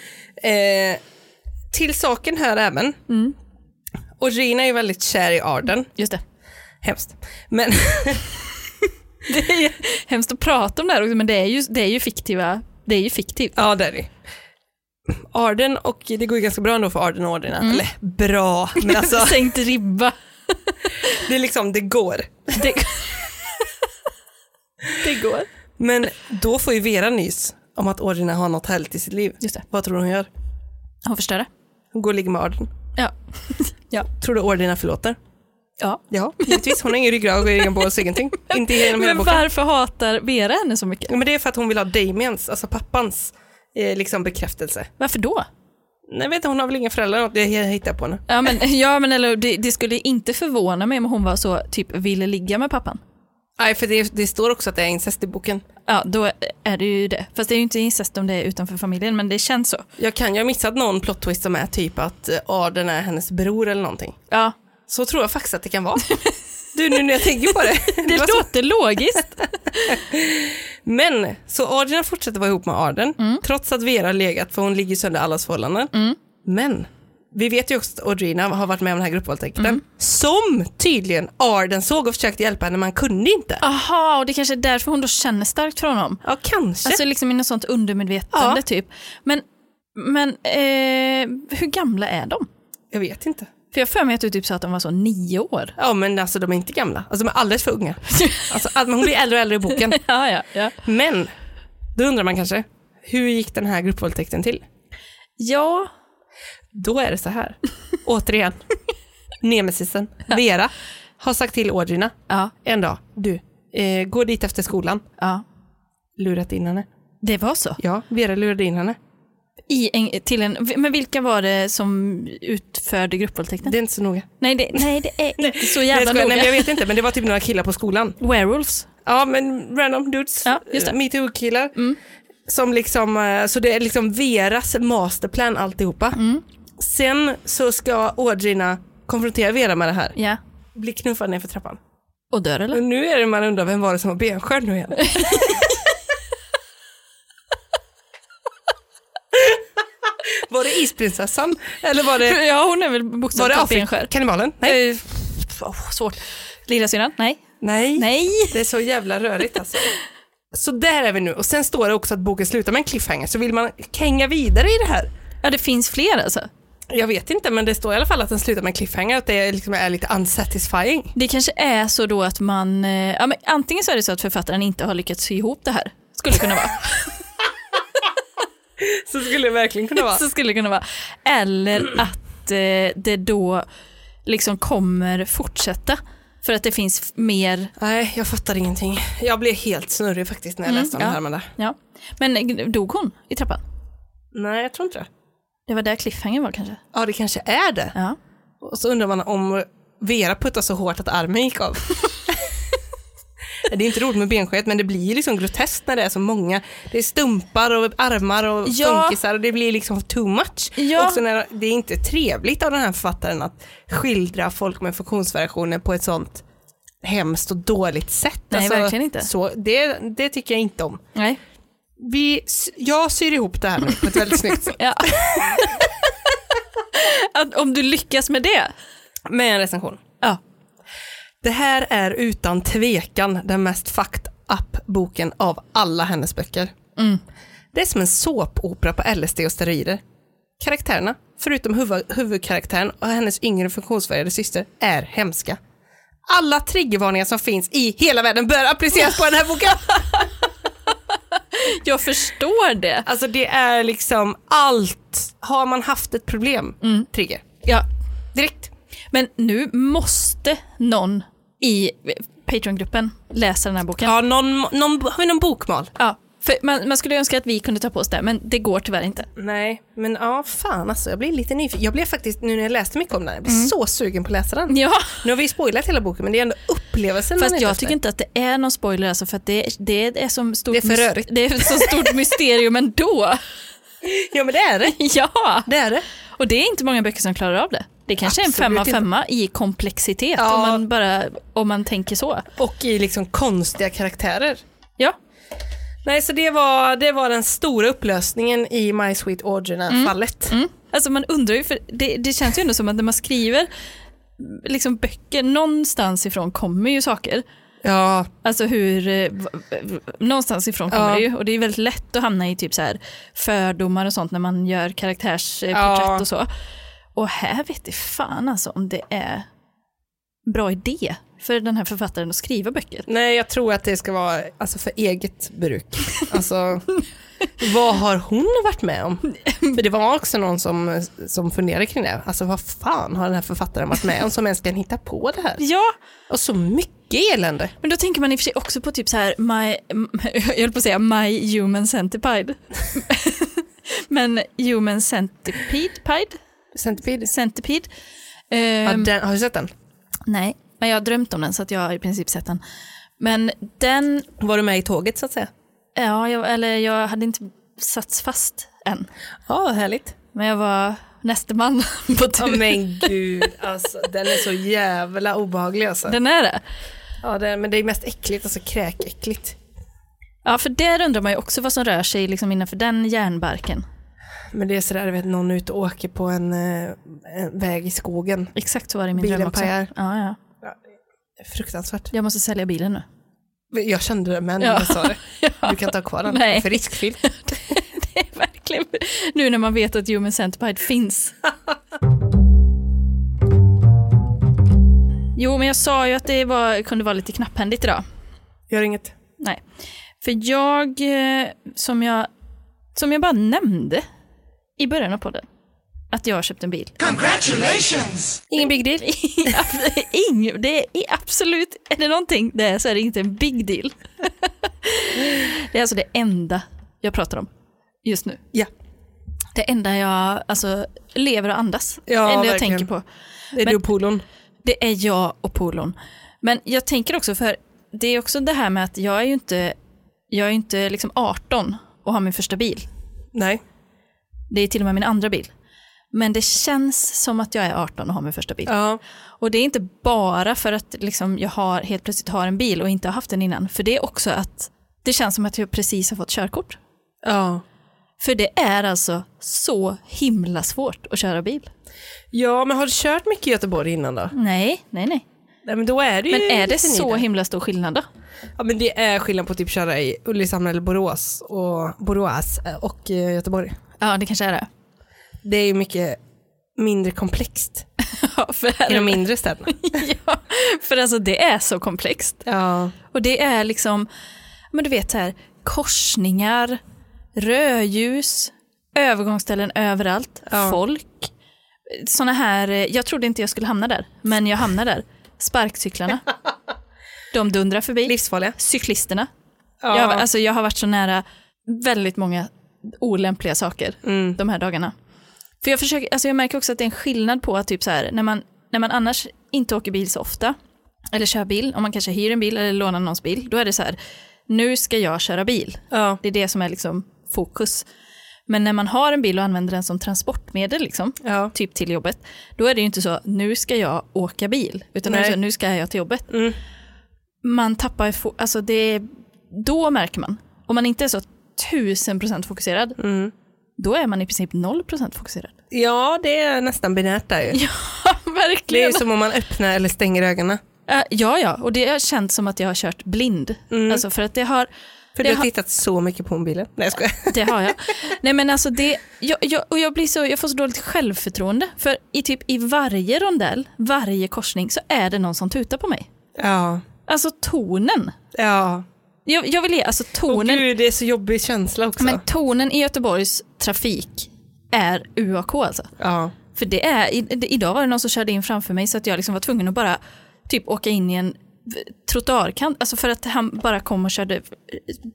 Eh, till saken här även. Mm. Och Rina är ju väldigt kär i Arden. Just det. Hemskt. Men Det är ju hemskt att prata om det här också, men det är ju, det är ju fiktiva, det är ju fiktivt. ja, det är det. Arden och det går ju ganska bra ändå för Arden och Mm. Ordina. Eller bra, men alltså Sänkt ribba. det är liksom, det går. Det, det går. Men då får ju Vera nys om att Ordina har något härligt i sitt liv. Just det. Vad tror du hon gör? Hon förstör det. Hon går och ligger med Arden. Ja. ja. Tror du Ordina förlåter? ja. Ja, givetvis. Hon har ingen ryggrad och ingen bås, ingenting. Inte genom hela Men boken. varför hatar Vera henne så mycket? Ja, men det är för att hon vill ha Damiens, alltså pappans, eh, liksom bekräftelse. Varför då? Nej, vet inte, hon har väl inga föräldrar, det jag hittar på nu. Ja men, ja, men eller, det, det skulle inte förvåna mig om hon var så, typ ville ligga med pappan. Nej, för det, det står också att det är incest i boken. Ja, då är det ju det. Fast det är ju inte incest om det är utanför familjen, men det känns så. Jag kan ju ha missat någon plot twist som är typ att eh, Arden är hennes bror eller någonting. Ja, Så tror jag faktiskt att det kan vara. Du, nu när jag tänker på det. det Det var så- låter logiskt. Men, så Adrian fortsätter vara ihop med Arden, trots att Vera har legat, för hon ligger sönder allas förhållanden. Men, vi vet ju också att Audrina har varit med om den här gruppvåldtäkten, som tydligen Arden såg och försökte hjälpa henne, men han kunde inte. Aha, och det kanske är därför hon då känner starkt för honom. Ja, kanske. Alltså liksom i något sånt undermedvetande Ja. typ. Men, men eh, hur gamla är de? jag vet inte. För jag har för mig att du typ sa att de var så nio år. Ja, men alltså de är inte gamla. Alltså de är alldeles för unga. Alltså, att- men hon blir äldre och äldre i boken. Ja, ja, ja. Men, då undrar man kanske, hur gick den här gruppvåldtäkten till? Ja, Då är det så här, återigen, nemesisen, Vera, har sagt till Audrina, ja, en dag, du, eh, gå dit efter skolan. ja. Lurat in henne. Det var så. Ja, Vera lurade in henne. I en, till en, men vilka var det som utförde gruppvåldtäkten? Det är inte så noga. nej, det, nej, det är inte så Nej, jag jävla skojar. Nej, men jag noga. vet inte, men det var typ några killar på skolan. Werewolves. Ja, men random dudes. Ja, just det. Mm. Eh, Metoo-killar. Som liksom, eh, så det är liksom Veras masterplan alltihopa. Mm. Sen så ska Audrina konfrontera Vera med det här. Ja. Bli knuffad ner för trappan. Och dör eller? Och nu är det man undrar, vem var det som var benskör nu igen? var det isprinsessan? Eller var det, Ja, hon är väl var det bokstavligt Afrik- benskör. kannibalen? Nej. Eh, f- åh, svårt. Lillasyrran? Nej. Nej. Nej. Det är så jävla rörigt alltså. Så där är vi nu. Och sen står det också att boken slutar med en cliffhanger. Så vill man hänga vidare i det här? Ja, det finns fler alltså. Jag vet inte, men det står i alla fall att den slutar med en cliffhanger. Att det liksom är lite unsatisfying. Det kanske är så då att man, eh, ja, men antingen så är det så att författaren inte har lyckats sy ihop det här, skulle kunna vara. Så skulle det verkligen kunna vara. så skulle det kunna vara. Eller att eh, det då liksom kommer fortsätta för att det finns f- mer. Nej, jag fattar ingenting. Jag blev helt snurrig faktiskt när jag läste om ja. det här med det. Ja. Men eh, dog hon i trappan? Nej, jag tror inte det. Det var där cliffhangern var kanske? Ja, det kanske är det. Ja. Och så undrar man om Vera puttade så hårt att armen gick av. det är inte roligt med benskörhet, men det blir ju liksom groteskt när det är så många. Det är stumpar och armar och Ja. funkisar och det blir liksom too much. Ja. Också när det är inte trevligt av den här författaren att skildra folk med funktionsvariationer på ett sånt hemskt och dåligt sätt. Alltså, Nej, verkligen inte. Så det, det tycker jag inte om. Nej. Vi, s- jag syr ihop det här nu på ett väldigt snyggt sätt Ja. att om du lyckas med det. med en recension. Ja. Det här är utan tvekan den mest fucked up boken av alla hennes böcker. Mm. Det är som en såpopera på LSD och steroider. Karaktärerna, förutom huvud- huvudkaraktären och hennes yngre funktionsvarierade syster, är hemska. Alla triggervarningar som finns i hela världen bör appliceras på den här boken. Jag förstår det. Alltså det är liksom allt. Har man haft ett problem, trigger. Ja. Mm. Direkt. Men nu måste någon i Patreon-gruppen läsa den här boken. Ja, någon, någon, har vi någon bokmal? Ja, för man, man skulle önska att vi kunde ta på oss det, men det går tyvärr inte. Nej, men ja, fan alltså. Jag blir lite nyfiken. Jag blev faktiskt, nu när jag läste mycket om den, här, jag blev så sugen på att läsa den. Mm. Ja, Nu har vi spoilat hela boken, men det är ändå upplevelsen man fast är ute jag efter. tycker inte att det är någon spoiler alltså, för att det, det är som stort Det är för mys- rörigt. Det är ett så stort mysterium ändå. Ja, men det är det. Ja, Det är det. och det är inte många böcker som klarar av det. Det kanske är en Absolut femma av inte. femma i komplexitet Ja. om, man bara, om man tänker så. Och i liksom konstiga karaktärer. Ja, Nej, så det var, det var den stora upplösningen i My Sweet Audrina-fallet. mm. alltså man undrar ju, för det, det känns ju ändå som att när man skriver liksom böcker, någonstans ifrån kommer ju saker. Ja, Alltså hur, eh, v- v- någonstans ifrån kommer Ja. det ju och det är väldigt lätt att hamna i typ så här fördomar och sånt när man gör karaktärsporträtt Ja. och så. Och här vet jag fan alltså om det är bra idé för den här författaren att skriva böcker. nej jag tror att det ska vara alltså, för eget bruk. Alltså, vad har hon varit med om? För det var också någon som, som funderade kring det. Alltså vad fan har den här författaren varit med om som ens kan hitta på det här? Ja, Och så mycket elände. men då tänker man i och för sig också på typ så här, my, jag höll på att säga My Human Centipede. men Human Centipede, pide, Centipede. centipede. Ja, Ehm, den, har du sett den? Nej, men jag har drömt om den så att jag har i princip sett den. Men den, Var du med i tåget så att säga? ja, jag, eller jag hade inte satts fast än. Ja, härligt. Men jag var nästeman på Ja, tur. men gud, alltså, den är så jävla obehaglig alltså. Den är det. Ja, det, men det är mest äckligt, alltså kräkäckligt. Ja, för där undrar man ju också vad som rör sig liksom innanför den järnbarken. Men det är sådär, du vet, någon är ute och åker på en, eh, en väg i skogen. Exakt så var det i min Bilen dröm också. Ja, pajar. ja. Fruktansvärt. Jag måste sälja bilen nu. Jag kände det, men Ja. jag sa det. Ja. Du kan ta kvar den, Nej. för riskfyllt. Det är verkligen, nu när man vet att Human Centipede finns. Jo, men jag sa ju att det var, kunde vara lite knapphändigt idag. Gör inget. Nej. För jag, eh, som jag, som jag bara nämnde i början av podden, att jag har köpt en bil. Ingen big deal. Ing, det är absolut, är det någonting det är så är det inte en big deal. det är alltså det enda jag pratar om just nu. Ja, Det enda jag alltså, lever och andas. Ja, det enda jag verkligen. tänker på. det är Men- du och polon. Det är jag och polon. Men jag tänker också för det är också det här med att jag är ju inte, jag är ju inte liksom 18 att ha min första bil. Nej. Det är till och med min andra bil. Men det känns som att jag är 18 och har min första bil. Ja. Och det är inte bara för att liksom jag har, helt plötsligt har en bil och inte har haft den innan. För det är också att det känns som att jag precis har fått körkort. Ja. För det är alltså så himla svårt att köra bil. Ja, men har du kört mycket i Göteborg innan då? Nej, nej, nej. Nej, men då är det ju Men är det lite så nida. himla stor skillnad då? Ja, men det är skillnad på typ köra i Ulricehamn eller Borås och, Borås och eh, Göteborg. Ja, det kanske är det. Det är ju mycket mindre komplext Ja, för, i de mindre städerna. ja, för alltså det är så komplext. ja. Och det är liksom, men du vet så här, korsningar, rödljus, övergångsställen överallt, Ja. folk. Såna här, eh, jag trodde inte jag skulle hamna där, men jag hamnar där. Sparkcyklarna, de dundrar förbi. Livsfarliga. Cyklisterna. Ja. Jag, alltså, jag har varit så nära väldigt många olämpliga saker Mm. de här dagarna. För jag, försöker, alltså jag märker också att det är en skillnad på att typ så här, när, man, när man annars inte åker bil så ofta, eller kör bil, om man kanske hyr en bil eller lånar någons bil, då är det så här, nu ska jag köra bil. Ja. Det är det som är liksom fokus. Men när man har en bil och använder den som transportmedel, liksom, Ja. typ till jobbet, då är det ju inte så, nu ska jag åka bil, utan då är det Nej. så, nu ska jag till jobbet. Mm. Man tappar, fo- alltså det, då märker man. Om man inte är så tusen procent fokuserad, Mm. då är man i princip noll procent fokuserad. ja, det är nästan binärt där ju. Det är Verkligen. ju som om man öppnar eller stänger ögonen. Äh, Ja, ja, och det har känts som att jag har kört blind. Mm. Alltså för att det har, För Det du har har- tittat så mycket på mobilen. Nej, jag skojar. det har jag. Nej men alltså det, jag, jag, och jag, blir så, jag får så dåligt självförtroende. För i typ i varje rondell, varje korsning så är det någon som tutar på mig. Ja. Alltså tonen. Ja. Jag, jag vill ge, alltså Och tonen. gud, alltså. det är så jobbig känsla också. men tonen i Göteborgs trafik är UAK alltså. Ja. För det är, i, det, idag var det någon som körde in framför mig så att jag liksom var tvungen att bara typ åka in i en v- trottoarkant, alltså för att han bara kom och körde, eh,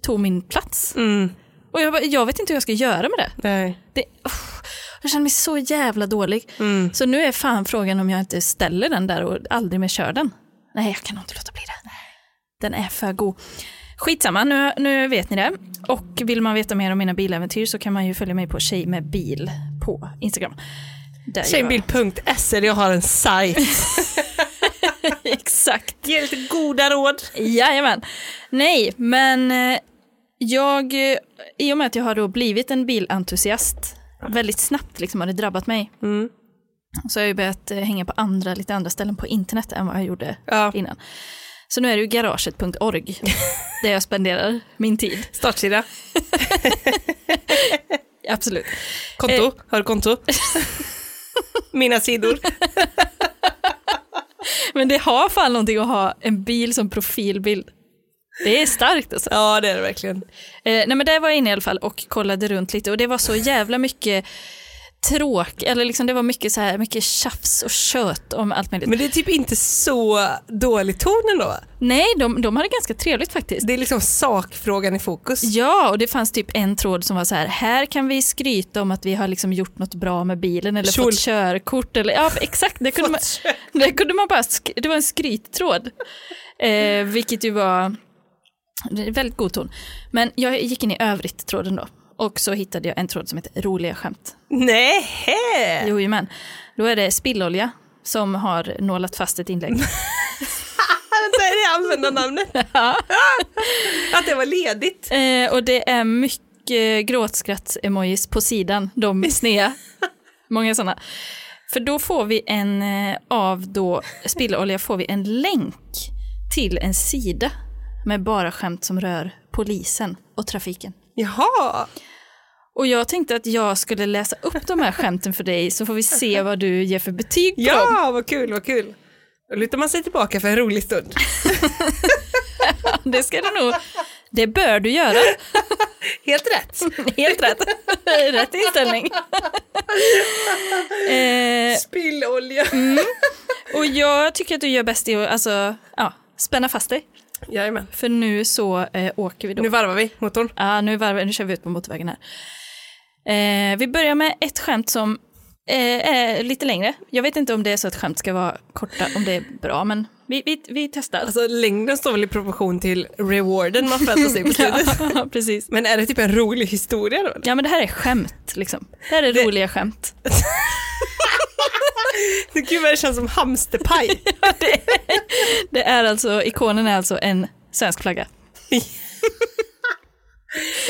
tog min plats. Mm. Och jag, bara, jag vet inte hur jag ska göra med det. Nej. det uff, jag känner mig så jävla dålig. Mm. Så nu är fan frågan om jag inte ställer den där och aldrig mer kör den. Nej, jag kan nog inte låta bli det. Den är för god. Skitsamma, nu, nu vet ni det. Och vill man veta mer om mina biläventyr så kan man ju följa mig på Tjej med bil på Instagram. Där jag- Tjejbild.se, jag har en sajt. Exakt. Ge lite goda råd. Jajamän. Nej, men eh, jag, eh, i och med att jag har då blivit en bilentusiast väldigt snabbt liksom har det drabbat mig. Mm. Så har jag ju börjat eh, hänga på andra, lite andra ställen på internet än vad jag gjorde Ja. innan. Så nu är det ju garaget.org där jag spenderar min tid. Startsida. Absolut. Konto. Eh. Har du konto? Mina sidor. Men det har fan någonting att ha en bil som profilbild. Det är starkt alltså. Ja, det är det verkligen. Eh, nej men där var jag inne i alla fall och kollade runt lite och det var så jävla mycket tråk, eller liksom det var mycket så här, mycket tjafs och kött om allt möjligt. Men det är typ inte så dålig ton ändå. Nej, de, de hade ganska trevligt faktiskt. Det är liksom sakfrågan i fokus. Ja, och det fanns typ en tråd som var så här, här kan vi skryta om att vi har liksom gjort något bra med bilen eller Kjol. fått körkort. Eller, ja, exakt, det kunde, man, det kunde man bara, sk- det var en skryttråd. Eh, vilket ju var det är väldigt god ton. Men jag gick in i övrigt-tråden då. Och så hittade jag en tråd som heter roliga skämt. Nej. Jo, men Då är det spillolja som har nålat fast ett inlägg. Vänta, är det användarnamnet? Att det var ledigt. eh, och det är mycket gråtskratts-emojis på sidan, de snea. Många sådana. För då får vi en, eh, av då spillolja får vi en länk till en sida med bara skämt som rör polisen och trafiken. Jaha. Och jag tänkte att jag skulle läsa upp de här skämten för dig så får vi se vad du ger för betyg på dem. Ja, vad kul, vad kul. Då lutar man sig tillbaka för en rolig stund. Det ska du nog, det bör du göra. Helt rätt. Helt rätt. rätt inställning. eh, Spillolja. och jag tycker att du gör bäst i att alltså, ja, spänna fast dig. Jajamän. För nu så eh, åker vi då. Nu Nu, varvar vi motorn. ah, nu, varvar, nu kör vi ut på motorvägen här. Eh, vi börjar med ett skämt som eh, eh, lite längre. Jag vet inte om det är så att skämt ska vara korta, om det är bra, men vi, vi, vi testar. Alltså längden står väl i proportion till rewarden man förväntar sig på slutet. ja, precis. Men är det typ en rolig historia då? eller? Ja, men det här är skämt, liksom. Det här är roliga skämt. Gud vad det känns som hamsterpaj. Det är alltså, ikonen är alltså en svensk flagga.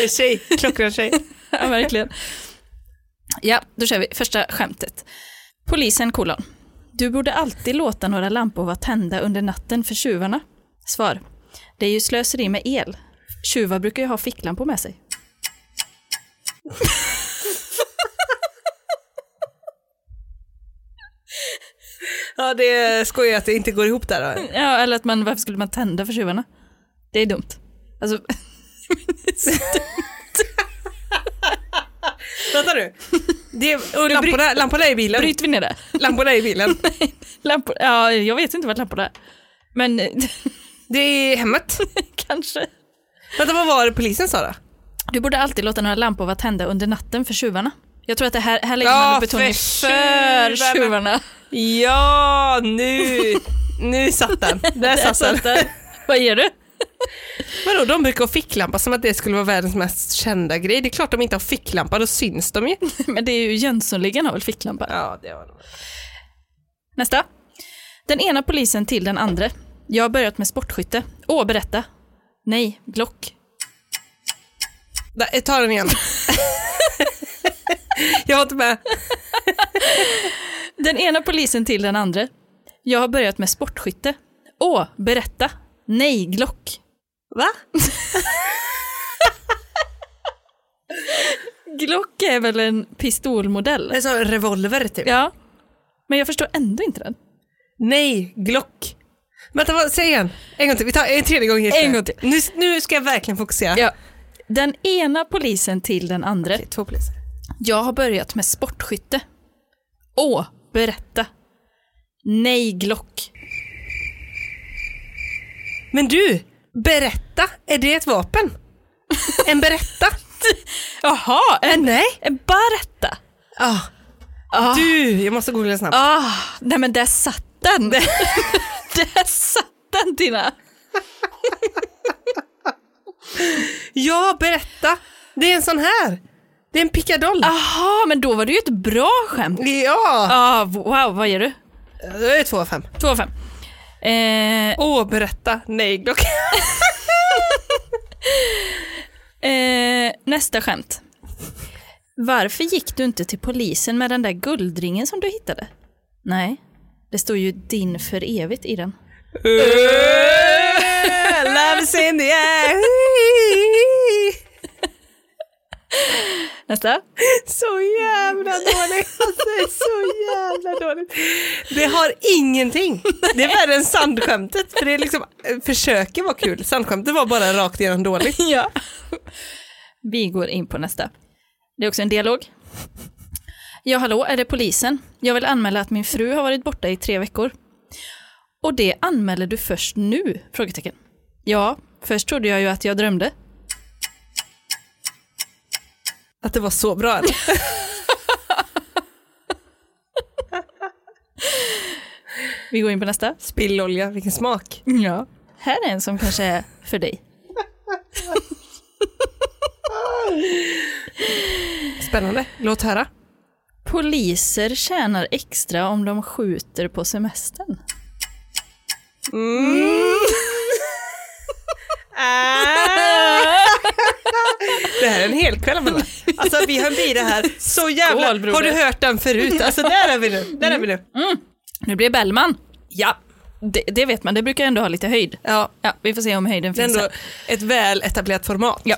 En tjej, klockren tjej. Ja, verkligen. Ja, då kör vi. Första skämtet. Polisen kolon. Du borde alltid låta några lampor vara tända under natten för tjuvarna. Svar. Det är ju slöseri med el. Tjuvar brukar ju ha ficklampor med sig. Ja det är skoj att det inte går ihop där då. Ja, eller att man, varför skulle man tända för tjuvarna? Det är dumt. Alltså, Vänta nu. Det är, och lamporna, lamporna är i bilen. bryter vi ner det? Lamporna är i bilen. Lampor, ja, jag vet inte vart lamporna är. Men Det är hemmet. kanske. Vänta vad var det polisen sa då? Du borde alltid låta några lampor vara tända under natten för tjuvarna. Jag tror att det här, här lägger Ja, man upp betoning för för tjuvarna. tjuvarna. Ja nu, nu satt den. Där Där satt den. satt den. Vad gör du? Vadå de brukar ha ficklampa som att det skulle vara världens mest kända grej. Det är klart de inte har ficklampa, då syns de ju. Men det är ju Jönssonligan har väl ficklampa? Ja det var det. Nästa. Den ena polisen till den andra. Jag har börjat med sportskytte. Åh, berätta. Nej, Glock. Där, ta den igen. jag var inte med. Den ena polisen till den andra. Jag har börjat med sportskytte. Åh, berätta. Nej, Glock. Va? Glock är väl en pistolmodell? Det är som en revolver typ. Ja. Men jag förstår ändå inte den. Nej, Glock. Vänta, vad, säg igen. En gång till. Vi tar en tredje gång. Heter En det. gång till. Nu, nu ska jag verkligen fokusera. Ja. Den ena polisen till den andra. Okej, två poliser. Jag har börjat med sportskytte. Åh, berätta. Nej, Glock. Men du, berätta. Är det ett vapen? En berätta? Jaha, Men en, nej. en berätta. Ah. Ah. Du, jag måste googla snabbt. Ah, nej men där satt den. där satt den Tina. Ja, berätta. Det är en sån här. Det är en pickadoll. Jaha, men då var det ju ett bra skämt. Ja, Ah, wow, vad gör du? det är två av fem. Två av fem. Eh, Åh, berätta. Nej, Glock. eh, nästa skämt. Varför gick du inte till polisen med den där guldringen som du hittade? Nej, det står ju din för evigt i den. Love's in the air. Nästa. Så jävla dåligt. Alltså, det är så jävla dåligt. Det har ingenting. Det är värre än sandskämtet. För det är liksom, eh, försöken var kul. Sandskämtet var bara rakt igenom dåligt. Ja. Vi går in på nästa. Det är också en dialog. Ja, hallå, är det polisen? Jag vill anmäla att min fru har varit borta i tre veckor. Och det anmäler du först nu? Frågetecken. Ja, först trodde jag ju att jag drömde. Att det var så bra. eller? Vi går in på nästa. Spillolja, vilken smak. Ja. Här är en som kanske är för dig. Spännande. Låt höra. Poliser tjänar extra om de skjuter på semestern. Det här är en hel kväll. Amanda. Alltså vi höll i det här så jävla... Skål, broder. har du hört den förut? Alltså där är vi nu. Där är vi nu. Nu blir det Bellman. Ja. Det, det vet man, det brukar ändå ha lite höjd. Ja, Ja, vi får se om höjden det är finns ändå här. ett väl etablerat format. Ja.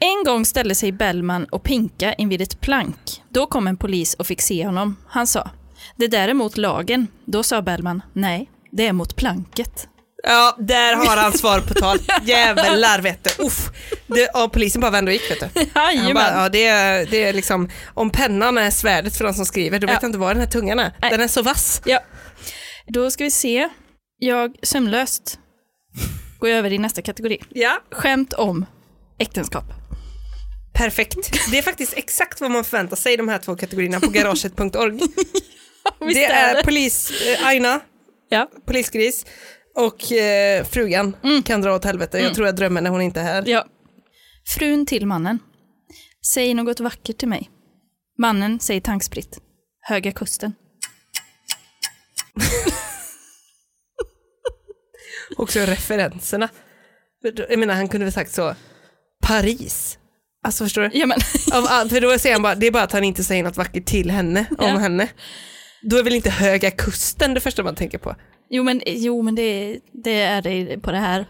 En gång ställde sig Bellman och Pinka invid ett plank. Då kom en polis och fick se honom. Han sa, det där är mot lagen. Då sa Bellman, nej, det är mot planket. Ja, där har han svar på tal. Jävlar vet du. Uff. Det, ja, polisen bara vände och gick vet du. Han bara, Jajamän. ja, det, är, det är liksom, om pennan är svärdet för de som skriver, då vet Ja. jag inte vad den här tungan är. Nej. Den är så vass. Ja. Då ska vi se. Jag, sömnlöst, går över i nästa kategori. Ja. Skämt om äktenskap. Perfekt. Det är faktiskt exakt vad man förväntar sig de här två kategorierna på garaget.org. Visst Det är polis, eh, Aina, Ja. polisgris och eh, frugan kan dra åt helvete. Jag tror jag drömmer när hon inte är här. ja. Frun till mannen. Säg något vackert till mig. Mannen säger tankspritt. Höga kusten. Också referenserna. Jag menar, han kunde väl sagt så, Paris. Alltså förstår du? Ja, men, Av, all- för då säger han bara, det är bara att han inte säger något vackert till henne, Ja. om henne. Då är väl inte Höga Kusten det första man tänker på? jo, men, jo, men det, det är det på det här.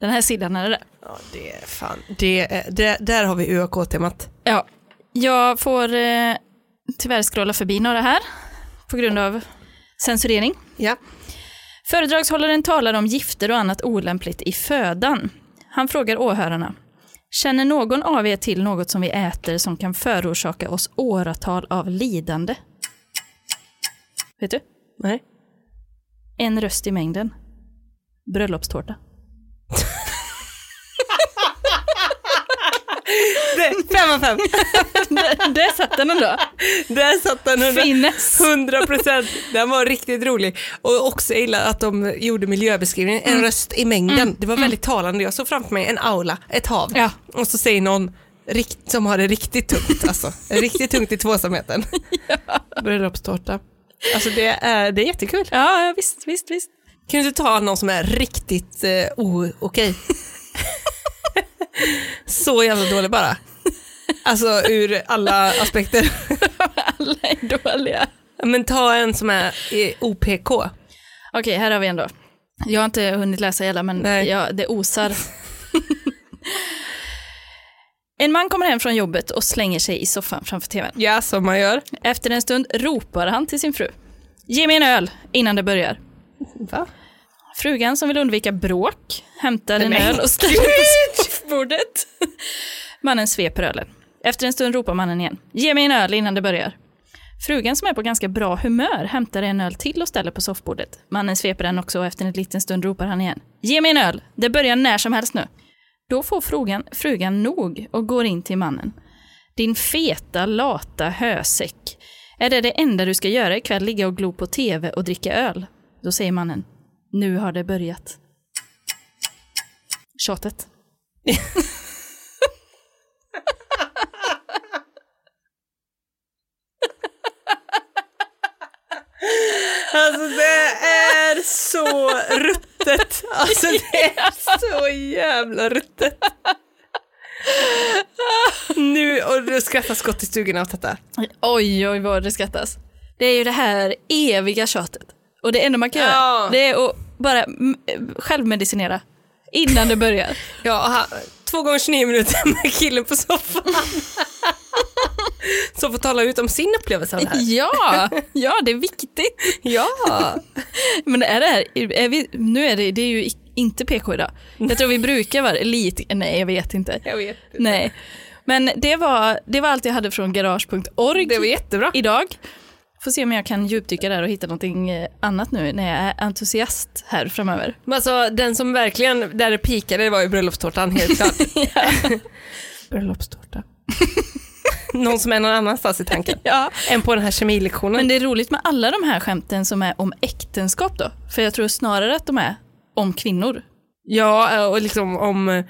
Den här sidan är det. Ja, det är fan, det är, det, där har vi UAK-temat. Ja. Jag får eh, tyvärr scrolla förbi några här på grund av censurering. Ja. Föredragshållaren talar om gifter och annat olämpligt i födan. Han frågar åhörarna. Känner någon av er till något som vi äter som kan förorsaka oss åratal av lidande? Vet du? Nej. En röst i mängden. Bröllopstårta. Det, fem av fem. Där- Där satt den ändå. Där satt den. hundra- Finnes. 100 procent. Den var riktigt rolig. Och också jag gillar att de gjorde miljöbeskrivningen, en röst i mängden. Det var väldigt talande. Jag såg framför mig en aula, ett hav. Ja. Och så säger någon rikt, som har det riktigt tungt, alltså. riktigt tungt i tvåsamheten. Ja. Bröllopstårta. Alltså det är, det är jättekul. Ja, ja, visst, visst, visst. Kan du inte ta någon som är riktigt eh, o- okej? Så jävla dålig bara. Alltså ur alla aspekter. Alla är dåliga. Men ta en som är eh, OPK. Okej, här har vi en då. Jag har inte hunnit läsa hela, men Nej. jag, det osar. en man kommer hem från jobbet och slänger sig i soffan framför tvn. Ja, som man gör. Efter en stund ropar han till sin fru. Ge mig en öl innan det börjar. Va? Frugan som vill undvika bråk hämtar en Nej, men öl och ställer på soffbordet. Mannen sveper ölen. Efter en stund ropar mannen igen. Ge mig en öl innan det börjar. Frugan som är på ganska bra humör hämtar en öl till och ställer på soffbordet. Mannen sveper den också och efter en liten stund ropar han igen. Ge mig en öl! Det börjar när som helst nu. Då får frugan, frugan nog och går in till mannen. Din feta, lata hösäck. Är det det enda du ska göra ikväll, ligga och glo på TV och dricka öl? Då säger mannen. Nu har det börjat. Tjatet. Alltså det är så ruttet. Alltså det är så jävla ruttet. Nu, och du skrattar skott i stugorna åt detta. Oj, oj, vad det skrattas. Det är ju det här eviga tjatet. Och det enda man kan Ja. göra, det är att bara mm, självmedicinera innan det börjar. Ja, aha, två gånger 29 minuter med killen på soffan. Som får tala ut om sin upplevelse av det här. ja, ja, det är viktigt. Ja. Men är det här, är vi, nu är det, det är ju i- inte PK idag. Jag tror vi brukar vara lite, nej jag vet inte. Jag vet. Nej. Men det var, det var allt jag hade från garage.org. Det var jättebra. idag. Får se om jag kan djupdyka där och hitta någonting eh, annat nu när jag är entusiast här framöver. Men alltså den som verkligen, där det pikade var ju bröllopstårtan helt klart. bröllopstårta. Någon som är någon annanstans i tanken. Ja. än på den här kemilektionen. Men det är roligt med alla de här skämten som är om äktenskap då. För jag tror snarare att de är om kvinnor. ja, och liksom om,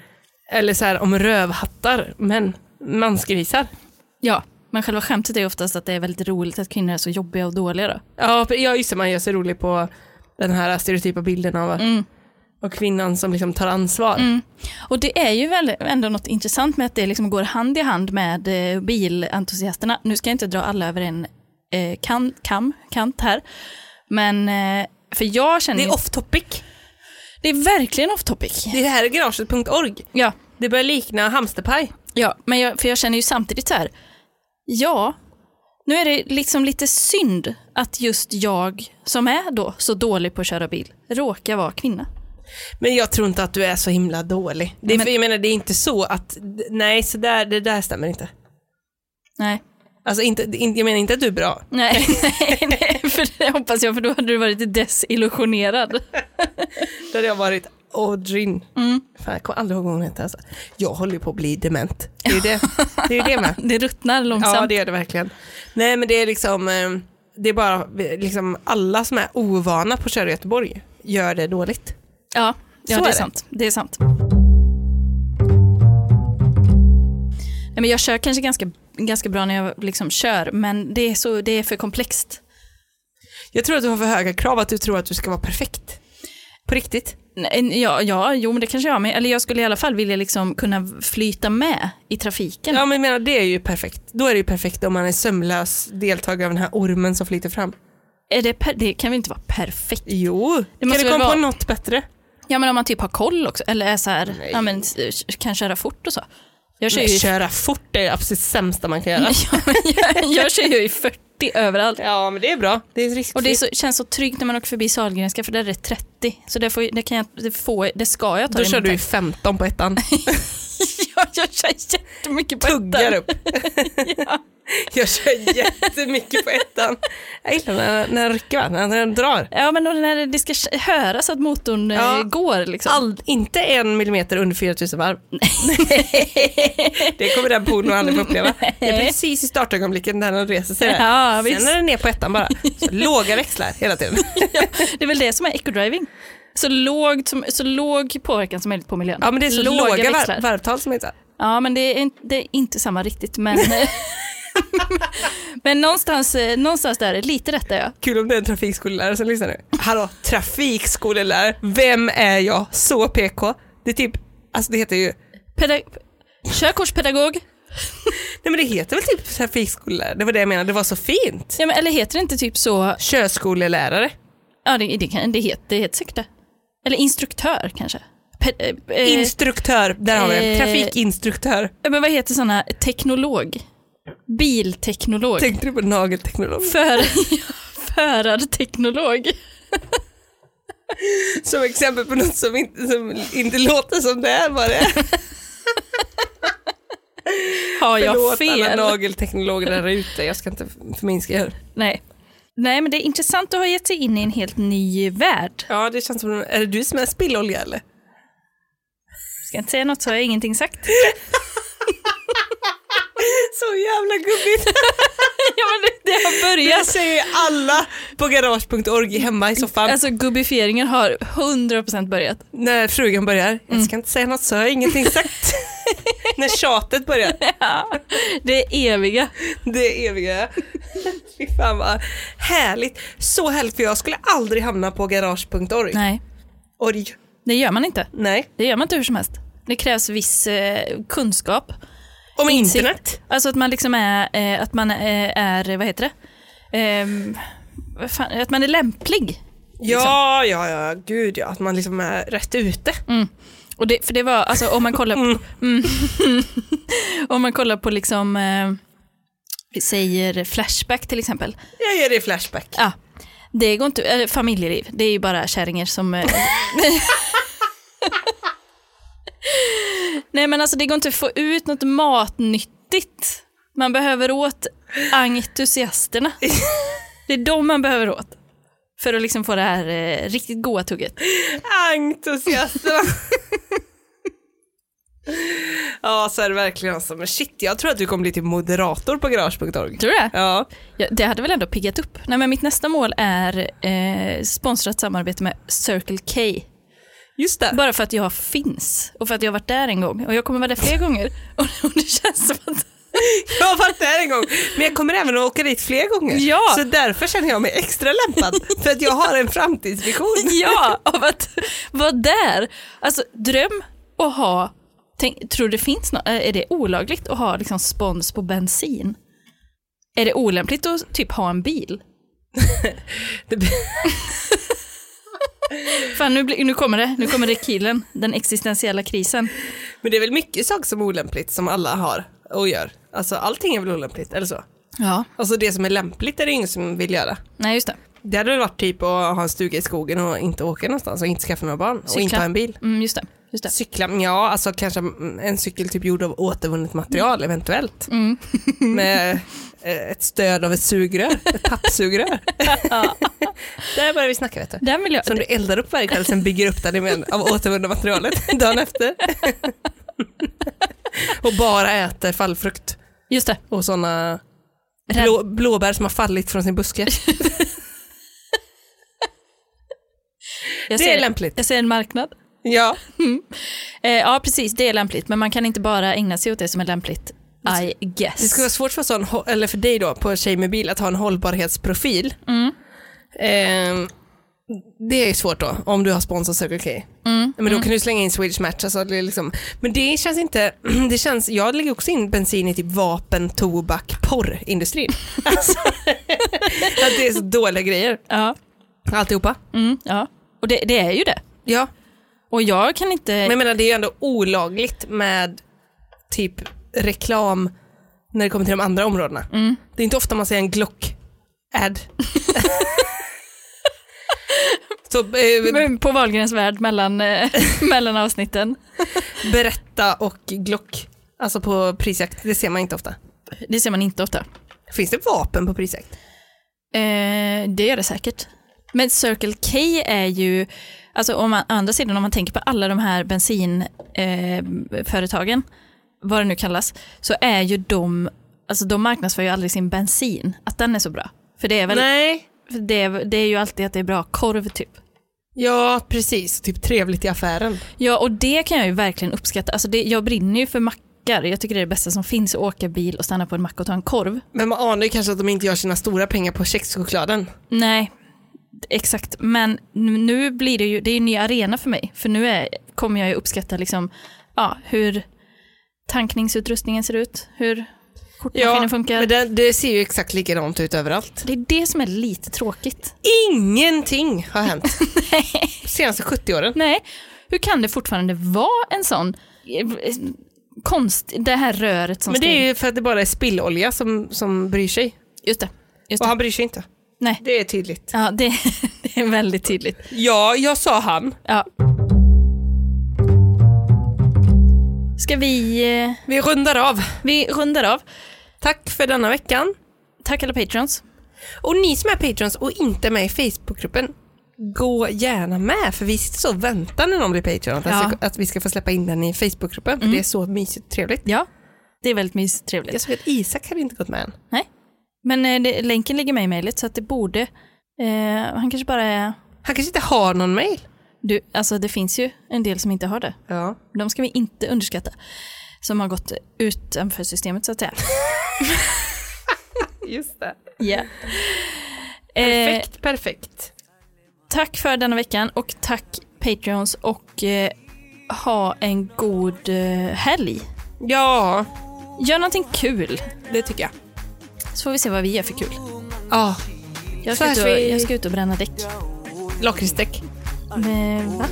eller så här, om rövhattar, men mansgrisar. Ja, men själva skämtet är ju oftast att det är väldigt roligt att kvinnor är så jobbiga och dåliga då. Ja, ja, just det, man gör sig rolig på den här stereotypa bilden av och kvinnan som liksom tar ansvar. Och det är ju väl ändå något intressant med att det liksom går hand i hand med eh, bilentusiasterna. Nu ska jag inte dra alla över en eh, kan, kam, kant här. Men, eh, för jag känner Det ju- är off topic. det är verkligen off topic. Det här är garaget.org. Ja, Det börjar likna hamsterpaj. ja men jag, för jag känner ju samtidigt så här, ja, nu är det liksom lite synd att just jag som är då så dålig på att köra bil råkar vara kvinna. Men jag tror inte att du är så himla dålig. Det, är- Men- Jag menar, det är inte så att, nej, så där, det där stämmer inte. Nej, Alltså inte, inte- jag menar inte att du är bra. nej, nej, nej för det hoppas jag, för då hade du varit desillusionerad. Då hade jag varit Audrin. Fan, jag kommer aldrig ihåg vad hon heter. Alltså. Jag håller ju på att bli dement. Det är ju det, det, är ju det med. Det ruttnar långsamt. Ja, det gör det verkligen. Nej, men det är liksom, eh, det är bara liksom alla som är ovana på att köra i Göteborg gör det dåligt. Ja, ja det är Så är det. sant. Det är sant. Nej, men jag kör kanske ganska, ganska bra när jag liksom kör, men det är, så, det är för komplext. Jag tror att du har för höga krav, att du tror att du ska vara perfekt. På riktigt. Nej, Ja, ja, jo men det kanske jag har, men eller jag skulle i alla fall vilja liksom kunna flyta med i trafiken. Ja, men jag menar, det är ju perfekt. Då är det ju perfekt om man är sömlös deltagare av den här ormen som flyter fram. Är det, per, det kan väl inte vara perfekt? Jo, kan måste du väl komma vara- på något bättre? Ja men om man typ har koll också, eller är så här, ja, men, s- kan köra fort och så. Jag kör, ju, Nej, i- köra fort är det absolut sämsta man kan göra. ja, men jag, jag kör ju i 40 överallt. Ja, men det är bra. Det är riskfritt. Och det är så, känns så tryggt när man åker förbi Sahlgrenska för där är det 30. Så det, får, det, kan jag, det, får, det ska jag ta Då i kör min du i tank. 15 på ettan. Ja, jag kör jättemycket på Tuggar ettan. upp. Jag kör jättemycket på ettan. Jag gillar när, när den rycker, va? när den drar. Ja, men då när det ska k- höras att motorn eh, Ja. går liksom. All, inte en millimeter under 4000 varv. Nej. det kommer den poolen aldrig få uppleva. Det är precis i startögonblicket när den reser sig. där. Ja, visst. Sen är den ner på ettan bara. Så låga växlar hela tiden. Det är väl det som är eco-driving. Så, lågt som, så låg påverkan som möjligt på miljön. Ja men det är så låga, växlar. var, varvtal som heter. Ja, men det är, inte- det är inte samma riktigt. Men, eh, men någonstans, eh, någonstans där, lite rätt är jag. Kul om det är en trafikskolelärare som lyssnar nu. Hallå, trafikskolelärare, vem är jag? Så PK. Det är typ, alltså det heter ju, Pedag- Körkortspedagog, nej men det heter väl typ trafikskolelärare, det var det jag menade, det var så fint. ja, men, eller heter det inte typ så Körskolelärare. Ja, det, det, kan, det, heter, det heter säkert det. Eller instruktör kanske. Pe- eh, eh, Instruktör, där har vi eh, den. Trafikinstruktör. men vad heter sådana? Teknolog. Bilteknolog. Tänkte du på nagelteknolog? För, förarteknolog. Som exempel på något som inte, som inte låter som det är var det. Har jag Förlåt alla fel? nagelteknologer där ute, jag ska inte förminska er. Nej. Nej, men det är intressant att ha gett sig in i en helt ny värld. Ja, det känns som, är det du som är spillolja eller? Ska jag inte säga något så har jag ingenting sagt. Så jävla gubbigt. ja, men det, det har Jag börjat. säger alla på garage.org hemma i soffan Alltså gubbifieringen har 100% börjat. när frugan börjar. Jag ska inte säga något så jag har ingenting sagt. när tjatet börjar. Det är eviga. Det eviga. Fy fan vad härligt. Så härligt för jag skulle aldrig hamna på garage.org. Nej, Org. det gör man inte. Nej. Det gör man inte hur som helst. Det krävs viss eh, kunskap. Om Insikt. internet. Alltså att man liksom är, eh, att man eh, är, vad heter det? Ehm, vad fan, att man är lämplig. Ja, liksom. ja, ja, gud ja. Att man liksom är rätt ute. Mm. Och det, för det var, alltså om man kollar på, mm. om man kollar på liksom, eh, vi säger Flashback till exempel. Jag ger dig flashback. Ja, det går inte, eller familjeliv, det är ju bara kärringar som... eh, Nej men alltså det går inte att få ut något matnyttigt. Man behöver åt entusiasterna. Det är de man behöver åt. För att liksom få det här eh, riktigt goa tugget. Entusiasterna. ja, så är det verkligen alltså. Men shit, jag tror att du kommer bli typ moderator på garage.org. Tror du det? Ja. Ja, det hade väl ändå piggat upp. Nej men mitt nästa mål är eh, sponsrat samarbete med Circle K. Just det. Bara för att jag finns och för att jag har varit där en gång och jag kommer vara där fler gånger. Och, och det känns som att Jag har varit där en gång, men jag kommer även att åka dit fler gånger. Ja. Så därför känner jag mig extra lämpad, för att jag har en framtidsvision. Ja, av att vara där. Alltså dröm och ha, tänk, tror du det finns något, är det olagligt att ha liksom spons på bensin? Är det olämpligt att typ ha en bil? Det- Fan, nu, blir- nu kommer det, nu kommer det killen, den existentiella krisen. Men det är väl mycket saker som är olämpligt som alla har och gör. Alltså allting är väl olämpligt, eller så? Ja. Alltså det som är lämpligt är det ingen som vill göra. Nej, just det. Det hade väl varit typ att ha en stuga i skogen och inte åka någonstans och inte skaffa några barn och Cykla. inte ha en bil. Mm, just det. Just det. Cykla, ja alltså kanske mm, en cykel typ gjord av återvunnet material eventuellt. Mm. Med eh, ett stöd av ett sugrör, ett pappsugrör. Ja. Där börjar vi snacka vet du. Den vill jag... Som du eldar upp varje kväll sen bygger upp den med, av återvunna materialet dagen efter. och bara äter fallfrukt Just det. och sådana Rädd. blå, blåbär som har fallit från sin buske. Jag Det ser, är lämpligt. Jag ser en marknad. Ja, Eh, ja, precis. Det är lämpligt. Men man kan inte bara ägna sig åt det som är lämpligt. I guess. Alltså, det skulle vara svårt för, sån, hå- eller för dig då på en tjej med bil att ha en hållbarhetsprofil. Ehm, det är svårt då om du har sponsor Circle K. Men då kan du slänga in Swedish Match. Alltså det är liksom, men det känns inte, det känns, jag lägger också in bensin i typ vapen, tobak, porrindustrin. alltså, att det är så dåliga grejer. Ja. Alltihopa. Mm, ja. Och det, det är ju det. Ja, Och jag kan inte... men jag menar det är ju ändå olagligt med typ reklam när det kommer till de andra områdena. Det är inte ofta man ser en Glock-ad. så eh, Men På Wahlgrens värld mellan, eh, mellan avsnitten. berätta och Glock, alltså på prisjakt, det ser man inte ofta. Det ser man inte ofta. Finns det vapen på prisjakt? Eh, det gör det säkert. Men Circle K är ju, alltså om man, å andra sidan om man tänker på alla de här bensinföretagen, eh, företagen, vad det nu kallas, så är ju de, alltså de marknadsför ju aldrig sin bensin, att den är så bra. För det är väl, Nej. för det, är- det är ju alltid att det är bra korv typ. Ja, precis. Typ trevligt i affären. Ja, och det kan jag ju verkligen uppskatta. Alltså det, jag brinner ju för mackar. Jag tycker det är det bästa som finns, att åka bil och stanna på en mack och ta en korv. Men man anar ju kanske att de inte gör sina stora pengar på kexchokladen. Nej, exakt. Men nu blir det ju, det är ju en ny arena för mig. För nu är, kommer jag ju uppskatta liksom, ja, hur tankningsutrustningen ser ut, hur kortmaskinen funkar. men Det... det, det ser ju exakt likadant ut överallt. är det som är lite tråkigt. Ingenting har hänt. Senaste 70 åren. Nej, hur kan det fortfarande vara en sån eh, konst, det här röret som Men det ska är in? ju för att det bara är spillolja som, som bryr sig. Just det. Just Och det. han bryr sig inte. Nej. Det är tydligt. Ja, det, det är väldigt tydligt. Ja, jag sa han. Ja. Ska vi, eh, Vi rundar av. vi rundar av. Tack för denna veckan. Tack alla patrons. Och ni som är patrons och inte med i Facebookgruppen, gå gärna med för vi sitter så och väntar när någon blir patron att, Ja. Mm. att vi ska få släppa in den i Facebookgruppen för det är så mysigt och trevligt. Ja, det är väldigt mysigt och trevligt. Jag såg att Isak hade inte gått med än. Nej. Men eh, det, länken ligger med i mejlet så att det borde... Eh, han kanske bara är... Han kanske inte har någon mail. Du, alltså det finns ju en del som inte har det. Ja. De ska vi inte underskatta. Som har gått utanför systemet så att säga. Just det. Ja. Eh, Perfekt, perfekt. tack för denna veckan och tack Patreons och eh, ha en god eh, helg. Ja, Gör någonting kul det tycker jag. så får vi se vad vi gör för kul. Ja, Jag Så ska, hörs ut och, vi- jag ska ut och bränna däck. lakritsdäck. Men, va?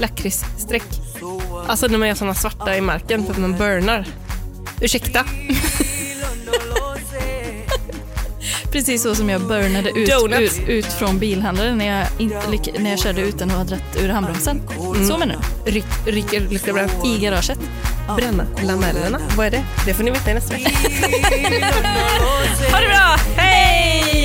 lakritsstreck. Alltså när man gör sådana svarta i marken för att man burnar. Ursäkta? Precis så som jag burnade ut, Donuts. ut, ut från bilhandlaren när jag, inte, lyck- när jag körde utan att ha dratt ur handbromsen. Så menar du? Ryck, rycker lycka bränna. I garaget. Bränna lamellerna. Vad är det? Det får ni veta i nästa vecka. Ha det bra! Hej!